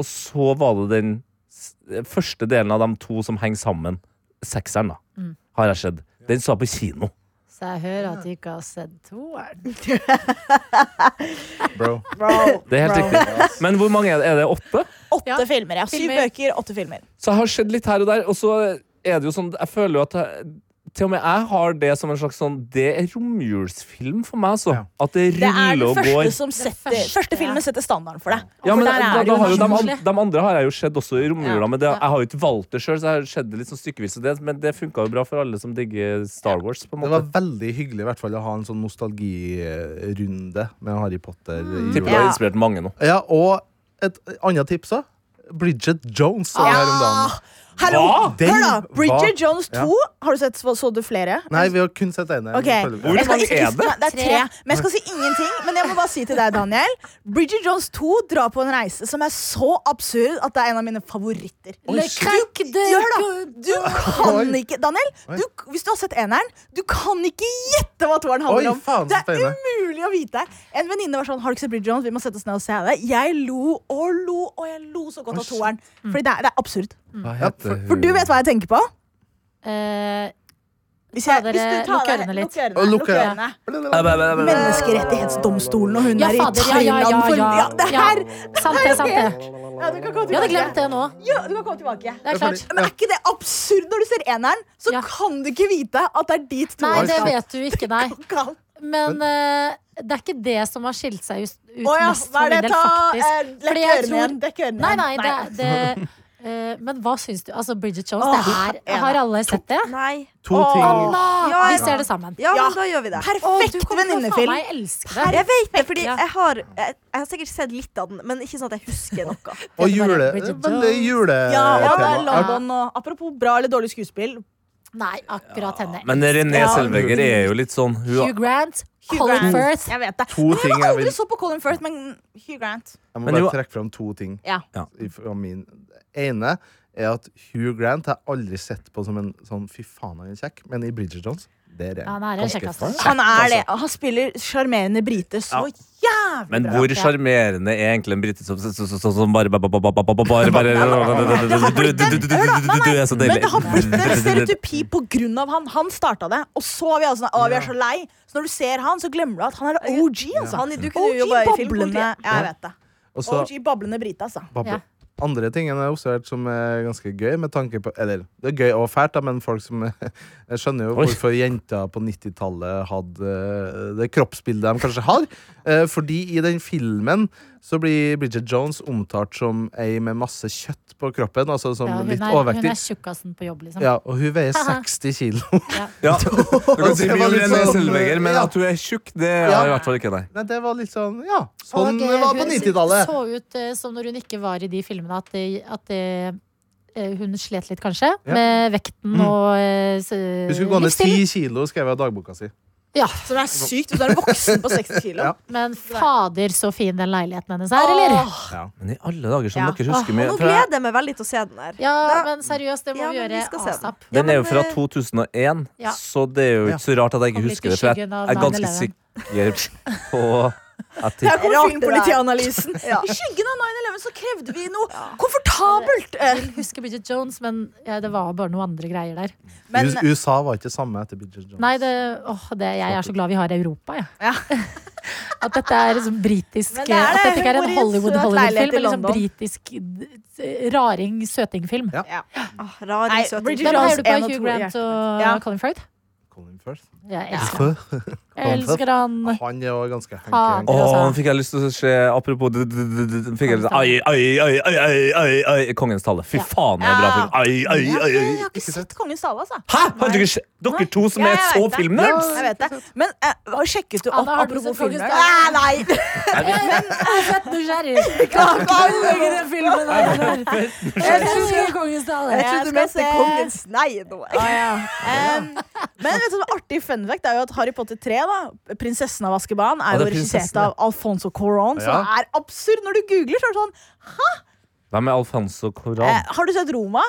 Og så var det den s- første delen av de to som henger sammen. Sekseren, da. Mm. Har jeg sett. Den så jeg på kino. Så jeg hører at du ikke har sett toeren. Bro. Det er helt riktig. Men hvor mange er det? Er det åtte? Åtte Ja. filmer. ja. Syv Filmer. bøker, åtte filmer. Så jeg har sett litt her og der, og så er det jo sånn Jeg føler jo at jeg, til og med jeg har det som en slags sånn Det er romjulsfilm for meg, altså. Ja. At det Det er ruller den og første, går. som setter, første, første ja. filmen setter standarden for deg. Ja, For men der da, er det da jo har jo de, naturlig. an- de andre har jeg jo sett også i romjula, Ja. men det, Ja. jeg har jo ikke valgt det sjøl, så jeg har sett det litt sånn stykkevis. og delt, Men det funka jo bra for alle som digger Star Wars, på en Det måte. var veldig hyggelig i hvert fall å ha en sånn nostalgirunde med Harry Potter. i jula. Tipper det har Ja. inspirert mange nå. Ja, og et annet tips da Bridget Jones så jeg her om dagen Ah, Hallo! Hva? Den Hør, da! Bridget var- Jones 2. Ja. Har du sett, så, så du flere? Nei, vi har kun sett en Hvor Ok. Jeg skal mange ikke- er det? Nei, Det er tre. Men jeg skal si ingenting. Men jeg må bare si til deg, Daniel. Bridget Jones 2 drar på en reise som er så absurd at det er en av mine favoritter. Le crack de Hør da, good- Du kan ikke Daniel, du, hvis du har sett eneren, du kan ikke gjette hva toeren handler Oi, om. faen, det så er spennende. umulig å vite. En venninne var sånn Har du ikke sett Bridget Jones? Vi må sette oss ned og se det. Jeg lo og lo og jeg lo så godt av toeren. Mm. Fordi det er, det er absurd. Hva for- heter For du vet hva jeg tenker på? Eh, Hvis Ta dere- lukk ørene litt. Og lukk Lukk ørene. hun? Menneskerettighetsdomstolen og hun Ja, er i fader, ja, Thailand ja, ja, for ja. ja, Det Ja. her sant det, sant det. ja, Du kan komme Vi hadde tilbake. glemt det nå. Ja, du kan komme tilbake. Det er klart. Men er ikke det absurd når du ser eneren? Så Ja. kan du ikke vite at det er dit Nei, toeren det skal. vet du ikke, nei. Kan. Men eh, det er ikke det som har skilt seg ut ut Å ja, mest hva for er min del, det? Ta eh, faktisk. Dekk Fordi jeg ørene tror- igjen. Dekk ørene Nei, igjen. nei, det, det eh, Men hva syns du? Altså, Bridget Jones, Åh, det er enig. Har alle sett det? Nei. To ting Ja, vi ser det sammen. Ja, Ja. men da gjør vi det. Perfekt venninnefilm. Jeg elsker det. Jeg vet det, fordi Ja. jeg har, jeg, jeg har sikkert sett litt av den, men ikke sånn at jeg husker noe. Det Og er bare jule Bridget Veldig jule Ja, og det er Eh, tema. Er- London og Apropos bra eller dårlig skuespill. Nei, akkurat henne. Men René Ja. Selvenger er jo litt sånn hun, Hugh Grant, Hugh Colin Grant. Firth. Jeg vet det. To Men ting jeg jeg har aldri vil- så på Colin Firth, men Hugh Grant. Jeg må Men bare jo- trekke fram to ting Ja. Ja. fra min Det ene er at Hugh Grant har jeg aldri sett på som en sånn fy faen han er kjekk, men i Bridget Jones Der er Ja, han. han er en Ganske kjekkass. fast. Han er det. Han spiller sjarmerende brite så jævlig Men bra. hvor sjarmerende er egentlig en brite som, som, som, som, som bare bare bare bare bare Du- du- du- du- du- Du er så Men det har blitt en deilig. stereotypi på grunn av han. Han starta det, og så er vi alle sånn Å, vi er så lei. Så når du ser han, så glemmer du at han er OG, altså. Han, du kunne jo OG jobba i bablende. filmpolitiet. Ja, jeg vet det. Og så OG bablende brite, altså. Babbe. Ja. Andre ting enn jeg har observert som er ganske gøy med tanke på, Eller det er gøy og fælt, da, men folk som Jeg skjønner jo Oi. hvorfor jenter på 90-tallet hadde eh, det kroppsbildet de kanskje har. Eh, Fordi i den filmen så blir Bridget Jones omtalt som ei med masse kjøtt på kroppen. Altså som Ja, hun, litt er, hun overvektig. er tjukkasen på jobb, liksom. Ja, og hun veier 60 kilo. Ja. Du kan si Det var mye om litt René sånn, Selveger, men ja. at hun er tjukk, det er i hvert fall ikke nei. Nei, det var litt sånn Ja, sånn Og, det eh, var på hun 90-tallet. så ut eh, som når hun ikke var i de filmene, at, det, at det, eh, hun slet litt, kanskje, Ja. med vekten og eh, s- Hun skulle gå ned livsstil. 10 kilo, skrev jeg i dagboka si. Ja, Som er sykt, hvis du er voksen på 60 kilo. Ja. men fader, så fin den leiligheten hennes er, eller? Åh, Men i alle dager som Ja. dere husker Og mye nå for jeg- gleder jeg meg veldig til å se den her. Ja, Da- men seriøst, det må Ja, vi men vi gjøre skal se den. asap. Den er jo fra men, eh, 2001, Ja. så det er jo ikke så rart at jeg ikke Kom litt i husker det. For jeg skyggen av er ganske 9/11. sikker på at Der jeg- kommer Rart det der. filmpolitianalysen. Ja. I skyggen av 9-11 så krevde vi noe komfortabelt. Jeg vil huske Bridget Jones, men ja, det var bare noen andre greier der. Men US- USA var ikke samme etter Bridget Jones. Nei, det, åh, det, jeg er så glad vi har Europa, jeg. Ja. At dette er liksom britisk Men det er det. At dette ikke er en Hun bor i en søt leilighet i Hollywood-Hollywood-film, men liksom London. britisk eh, raring-søting-film. Ja. Ah, Åh, rar Nei, søt Bridget jente. Hvem Jones heier du på? en og Hugh to, Grant og Ja. Colin Firth? Colin Firth. Jeg elsker han. Jeg elsker han. Han er jo ganske Faen. hanky. Å, altså. nå fikk jeg lyst til å se Apropos d- d- d- d- d- fikk jeg lyst til, ai, ai, ai, ai, ai, ai, ai, Kongens tale. Fy Ja. faen, det er en bra film. Ai, ai, Jeg, ai, jeg ai. har ikke sett Kongens tale, altså. Hæ? Har dere, ikke se- dere to som Ja, er jeg så vet det. filmnerds? Jeg vet det. Men eh, hva sjekket du opp Anna, har du apropos sett Kongens filmer? Ah, tale? Nei, nei. Fett nysgjerrig! Ødelegge den filmen der! Jeg elsker Kongens tale. Jeg trodde skal du mente se- Kongens nei nå. Ah, ja. Em, men vet du, hva artig fun fact er jo at Harry Potter 3, da, 'Prinsessen av Askeban', er det jo er regissert prinsessen, ja. av Alfonso Coron, som Ja. er absurd. Når du googler, så er det sånn Hvem er Alfonso eh, Coran? Har du sett Roma?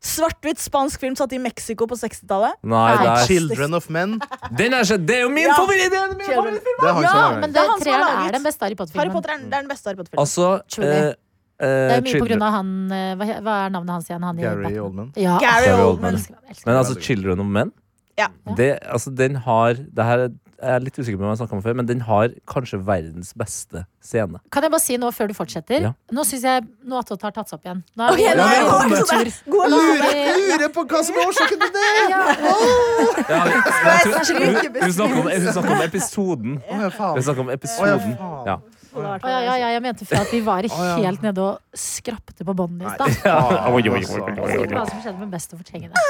Svart-hvitt spansk film satt i Mexico på 60-tallet. Nei, det er Children of Men. Den er, så- det er jo min Ja. favoritt! det er min favoritt! Harry Det er han Ja, som men er det, Det er han som har treeren laget. er den beste Harry Potter-filmen. Potter er, det er den beste Harry Potter-filmen. Altså Truly. eh, Det eh, er mye på grunn Children- av han eh, Hva, he- hva er navnet hans igjen? Han i Gary Batman? Oldman. Ja, Gary Gary Oldman. Oldman. elsker han, elsker han. Men altså, 'Children of Men' Ja. det, altså, den har Det her er jeg er litt usikker på om jeg har snakket om før, men den har kanskje verdens beste scene. Kan jeg bare si noe før du fortsetter? Ja. Nå syns jeg nå at Totte har tatt seg opp igjen. Nå er Ok, nå er vi det på tur. Gode Nå lure. er vi- Lurer på hva som er årsaken til det! Ja, jeg tror- Jeg hun, trykker hun snakker om, hun snakker om episoden. Å, ja, Vi faen. snakker om Å, episoden. ja, faen. Ja. Å, ja, ja, ja, jeg mente fra at vi var helt nede og skrapte på båndet i stad. Faen, Oi, oi, oi, altså. oi, oi, Si hva som skjedde med Best å fortrenge det.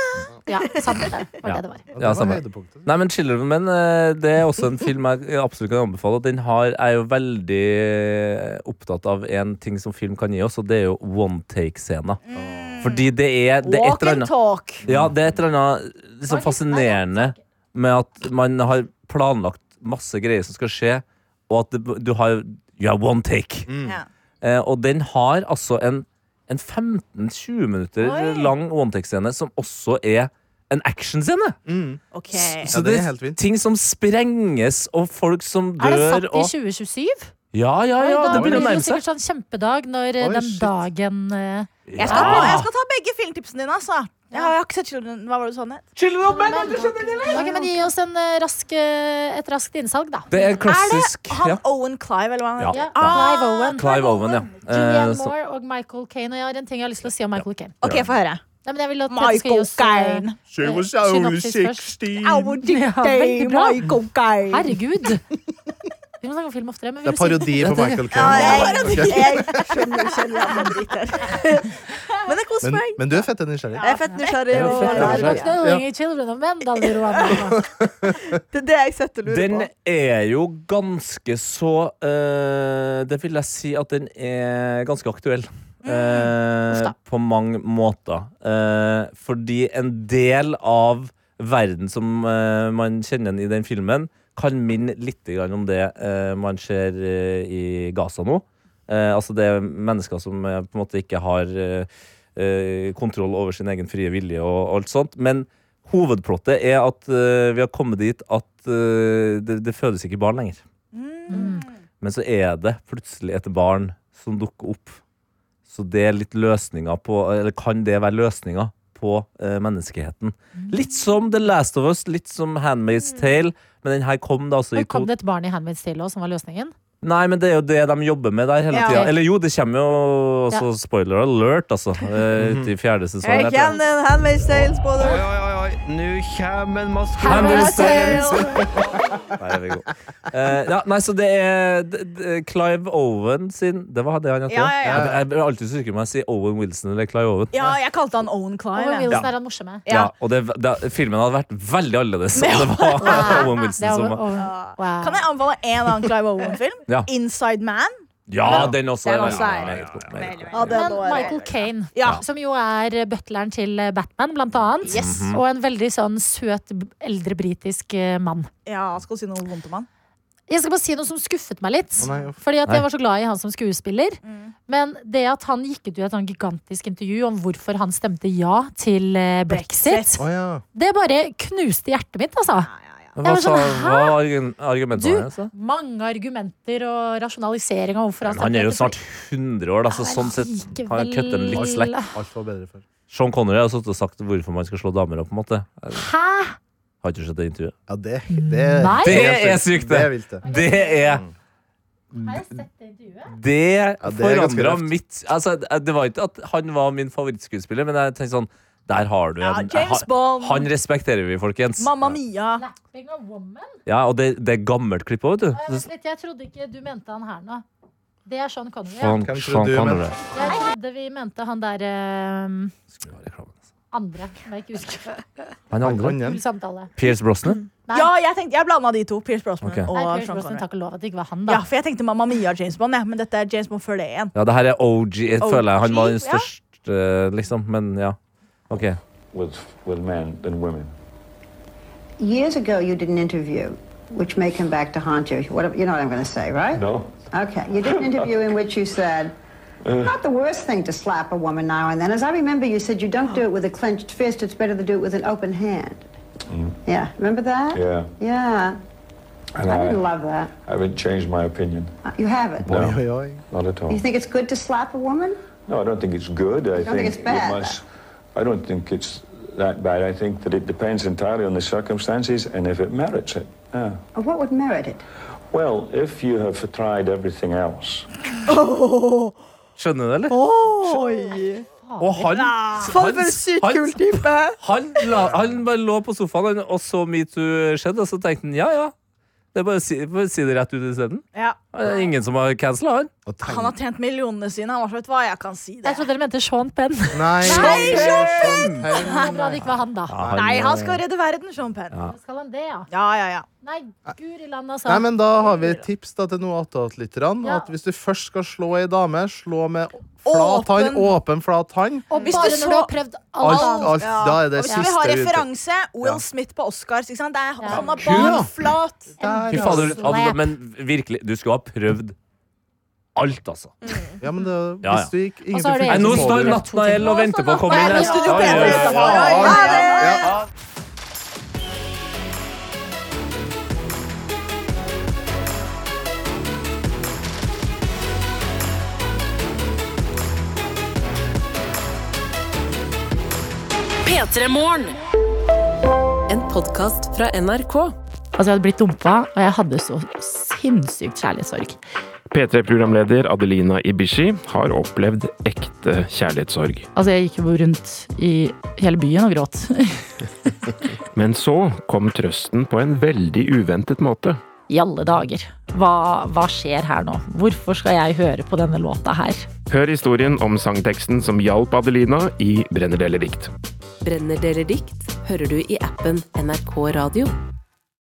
Ja, samme det. var det det var. Det var samme. høydepunktet. Nei, men 'Children of Men' eh, det er også en film jeg absolutt kan anbefale. og Den har, er jo veldig opptatt av en ting som film kan gi oss, og det er jo one take-scener. Fordi det er, det er et Walk eller and annet Mm. talk. Ja, det er et eller annet liksom, fascinerende med at man har planlagt masse greier som skal skje, og at det, du har You have one take. Ja. Eh, og den har altså en, en 15-20 minutter Oi. lang one take-scene som også er en actionscene. Ok. Ja, Så det det er er helt fint. ting som sprenges, og folk som dør Er det satt i og 2027? Ja, ja, Oi, ja, da det blir begynner å det nærme seg. sikkert sånn kjempedag når eh, Oi, den shit. dagen eh, Jeg skal, Ah. ta, Ja. jeg skal ta begge filmtipsene dine, altså. Jeg har, jeg har ikke sett Children. Hva var det du sa? Ned? Ok, men Gi oss en, eh, rask, eh, et raskt innsalg, da. Det er klassisk. Han Ja. Owen Clive, eller hva han Ja. Ja, heter. Clive Owen, Clive Owen, ja. Eh, Julianne så- Moore og Michael Kane. Og jeg har en ting jeg har lyst til å si om Michael Kane. Ok, få høre. Nei, men jeg vil at Tete skal gi Michael oss, eh, Caine. She was Eh, only synopsis 16. I would dig Ja, day, veldig bra. Michael Caine. Herregud! Vi må snakke om film oftere. Men Det vil er du si parodi på Michael Ja, Caine. jeg, Ok. jeg skjønner ikke hva han driter. Men det koser Men, meg. men du er fett nysgjerrig. er fett nysgjerrig. Ja, og- fett nysgjerrig. Not knowing children of men, da lurer jeg på. Det er det jeg setter lurer Den på. er jo ganske så eh, Det vil jeg si at den er ganske aktuell. eh, Uff da. på mange måter. Eh, fordi en del av verden som eh, man kjenner i den filmen, kan minne litt grann om det eh, man ser eh, i Gaza nå. Eh, altså det er mennesker som eh, på en måte ikke har eh, eh, kontroll over sin egen frie vilje og alt sånt. Men Hovedplottet er at eh, vi har kommet dit at eh, det, det fødes ikke barn lenger. Men så er det plutselig et barn som dukker opp. Så det er litt løsninga på Eller kan det være løsninga på eh, menneskeheten? Litt som The Last of Us, litt som Handmaid's Tale. Men den her kom da altså i Og kom to- det et barn i Handmaid's Tale også, som var løsningen? Nei, men det er jo det de jobber med der hele Ja. tida. Eller jo, det kommer jo også Ja. spoiler alert, altså. eh, Ute i fjerde sesong. jeg tror. en handmade sales på Oi, oi, oi, oi. Nå kommer en maskorama. Handmaid's Tale! Nei, det er vi gode. Eh, ja, nei, så det er d- d- Clive Owen sin Det var det han het? Ja, ja, ja. Jeg- Jeg blir alltid så usikker på om jeg sier Owen Wilson eller Clive Owen. Ja, jeg kalte han Owen Og Clive. jeg. Wilson er han morsomme. Ja. Ja, og det, det, filmen hadde vært veldig annerledes om det var Owen Wilson Det er som over- var over- wow. Kan jeg anbefale en annen Clive Owen-film? Ja. Inside Man. Ja, den også. Den ja, også ja, er- meget god, meget god. Ja, den Men var- Michael Kane, Ja. som jo er butleren til Batman, blant annet. Mhm. Og en veldig sånn søt, b- eldre britisk eh, mann. Ja, skal du si noe vondt om han? Jeg skal bare si noe som skuffet meg litt. Å nei, uff. Fordi at Nei. jeg var så glad i han som skuespiller. Mm. Men det at han gikk ut i et sånn gigantisk intervju om hvorfor han stemte ja til eh, brexit, Å ja. det bare knuste hjertet mitt, altså. Hva Jeg sa var sånn, hva var argu- argumentet Du- hans? da? Mange argumenter og rasjonalisering av hvorfor han Han er jo etter- snart 100 år, da, så sånn sett har jeg køddet den litt Likevel- slekk. Alt var bedre før. Sean Connery har sittet og sagt hvorfor man skal slå damer opp. på en måte Jeg Hæ? Har ikke sett det intervjuet. Ja, det, det, Mm. Nei. Det helt er sykt. Det sykt, det! er vilt, det. Det er Har jeg sett det intervjuet? Det Ja, det er ganske forandra røft. mitt altså, Det var ikke at han var min favorittskuespiller, men jeg tenkte sånn Der har du Ja, en James Bond. han, han respekterer vi, folkens. Mamma Mia. Lapping of woman? Ja, Og det, det er gammelt klipp òg, vet Jeg, du. vet litt, jeg trodde ikke du mente han her nå. Det er Sean Connery. ja. Sean, Hvem tror Sean du, men- Connery. Jeg trodde vi mente han der eh, Skulle ha reklame, altså. andre. Som jeg ikke husker. Han andre? Han igjen. Full samtale. Pierce Brosnan? Nei. Ja, jeg tenkte, jeg blanda de to. Pierce Brosnan Ok. og Nei, Pierce Sean Brosnan, Connery. takk og lov at det ikke var han, da. Ja, for jeg tenkte Mamma Mia James Bond, ja, men dette er James Bond før det igjen. Ja, det her er OG. Jeg OG, føler jeg han var den ja. største, liksom. Men ja. OK. with with men than women. Years ago, you did an interview, which may come back to haunt you. What, you know what I'm going to say, right? No. Okay. You did an interview in which you said, not the worst thing to slap a woman now and then. As I remember, you said you don't do it with a clenched fist. It's better to do it with an open hand. Yeah. Remember that? Yeah. Yeah. And I I, didn't love that. I haven't changed my opinion. You haven't. No, Oi, oi, oi. not at all. You think it's good to slap a woman? No, I don't think it's good. I don't think it's bad, it must. I don't think it's that bad. I think that it depends entirely on the circumstances and if it merits it. Yeah. Or what would merit it? Well, if you have tried everything else, Skjønner du, eller? Oi. Og han For en sykt han- kul type. Uh-huh. Han, la, han bare lå på sofaen han- og så metoo skjedde, og så tenkte han ja, ja. Det er bare å si, bare si det rett ut isteden. Ja. Det er ingen som har cancela han. Og tenk- Han har tjent millionene sine. Han var så vet du hva, jeg kan si det. Jeg trodde dere mente Sean Penn. Det Nei, Sean er Penn! bra det ikke var han, da. Ja, Nei, han skal redde verden, Sean Penn. Ja, Skal han det, ja? ja, ja. Nei, guri land, altså. Nei, men Da har vi et tips da, til noe-attåt-lytterne. Ja. At Hvis du først skal slå ei dame, slå med flat hånd. Åpen flat hånd. Og Hvis bare når du du så- har prøvd Alt, alt. alt, Ja. da er det Og hvis vi siste har vi ute. referanse, Will Ja. Smith på Oscars. Ikke sant? Det er, Ja. Han var Kul, ja. barn flat. Der, Fy ja. fader, Slap. altså, men virkelig, du skulle ha prøvd alt, altså. Ja, men det, Ja, ja. hvis du gikk Og så har ingenting det- funker, Nei, nå så må står du- Natnael og venter på å komme inn. Nei, nå her. står du Ja, ja, ja. Peter utenfor. Oi, Ja, ja, det- ja. En podkast fra NRK. Altså, jeg hadde blitt dumpa, og jeg hadde så sinnssykt kjærlighetssorg. P3-programleder Adelina Ibishi har opplevd ekte kjærlighetssorg. Altså, jeg gikk jo rundt i hele byen og gråt. Men så kom trøsten på en veldig uventet måte. I alle dager. Hva, hva skjer her nå? Hvorfor skal jeg høre på denne låta her? Hør historien om sangteksten som hjalp Adelina i Brenner deler dikt. Brenner deler dikt hører du i appen NRK Radio.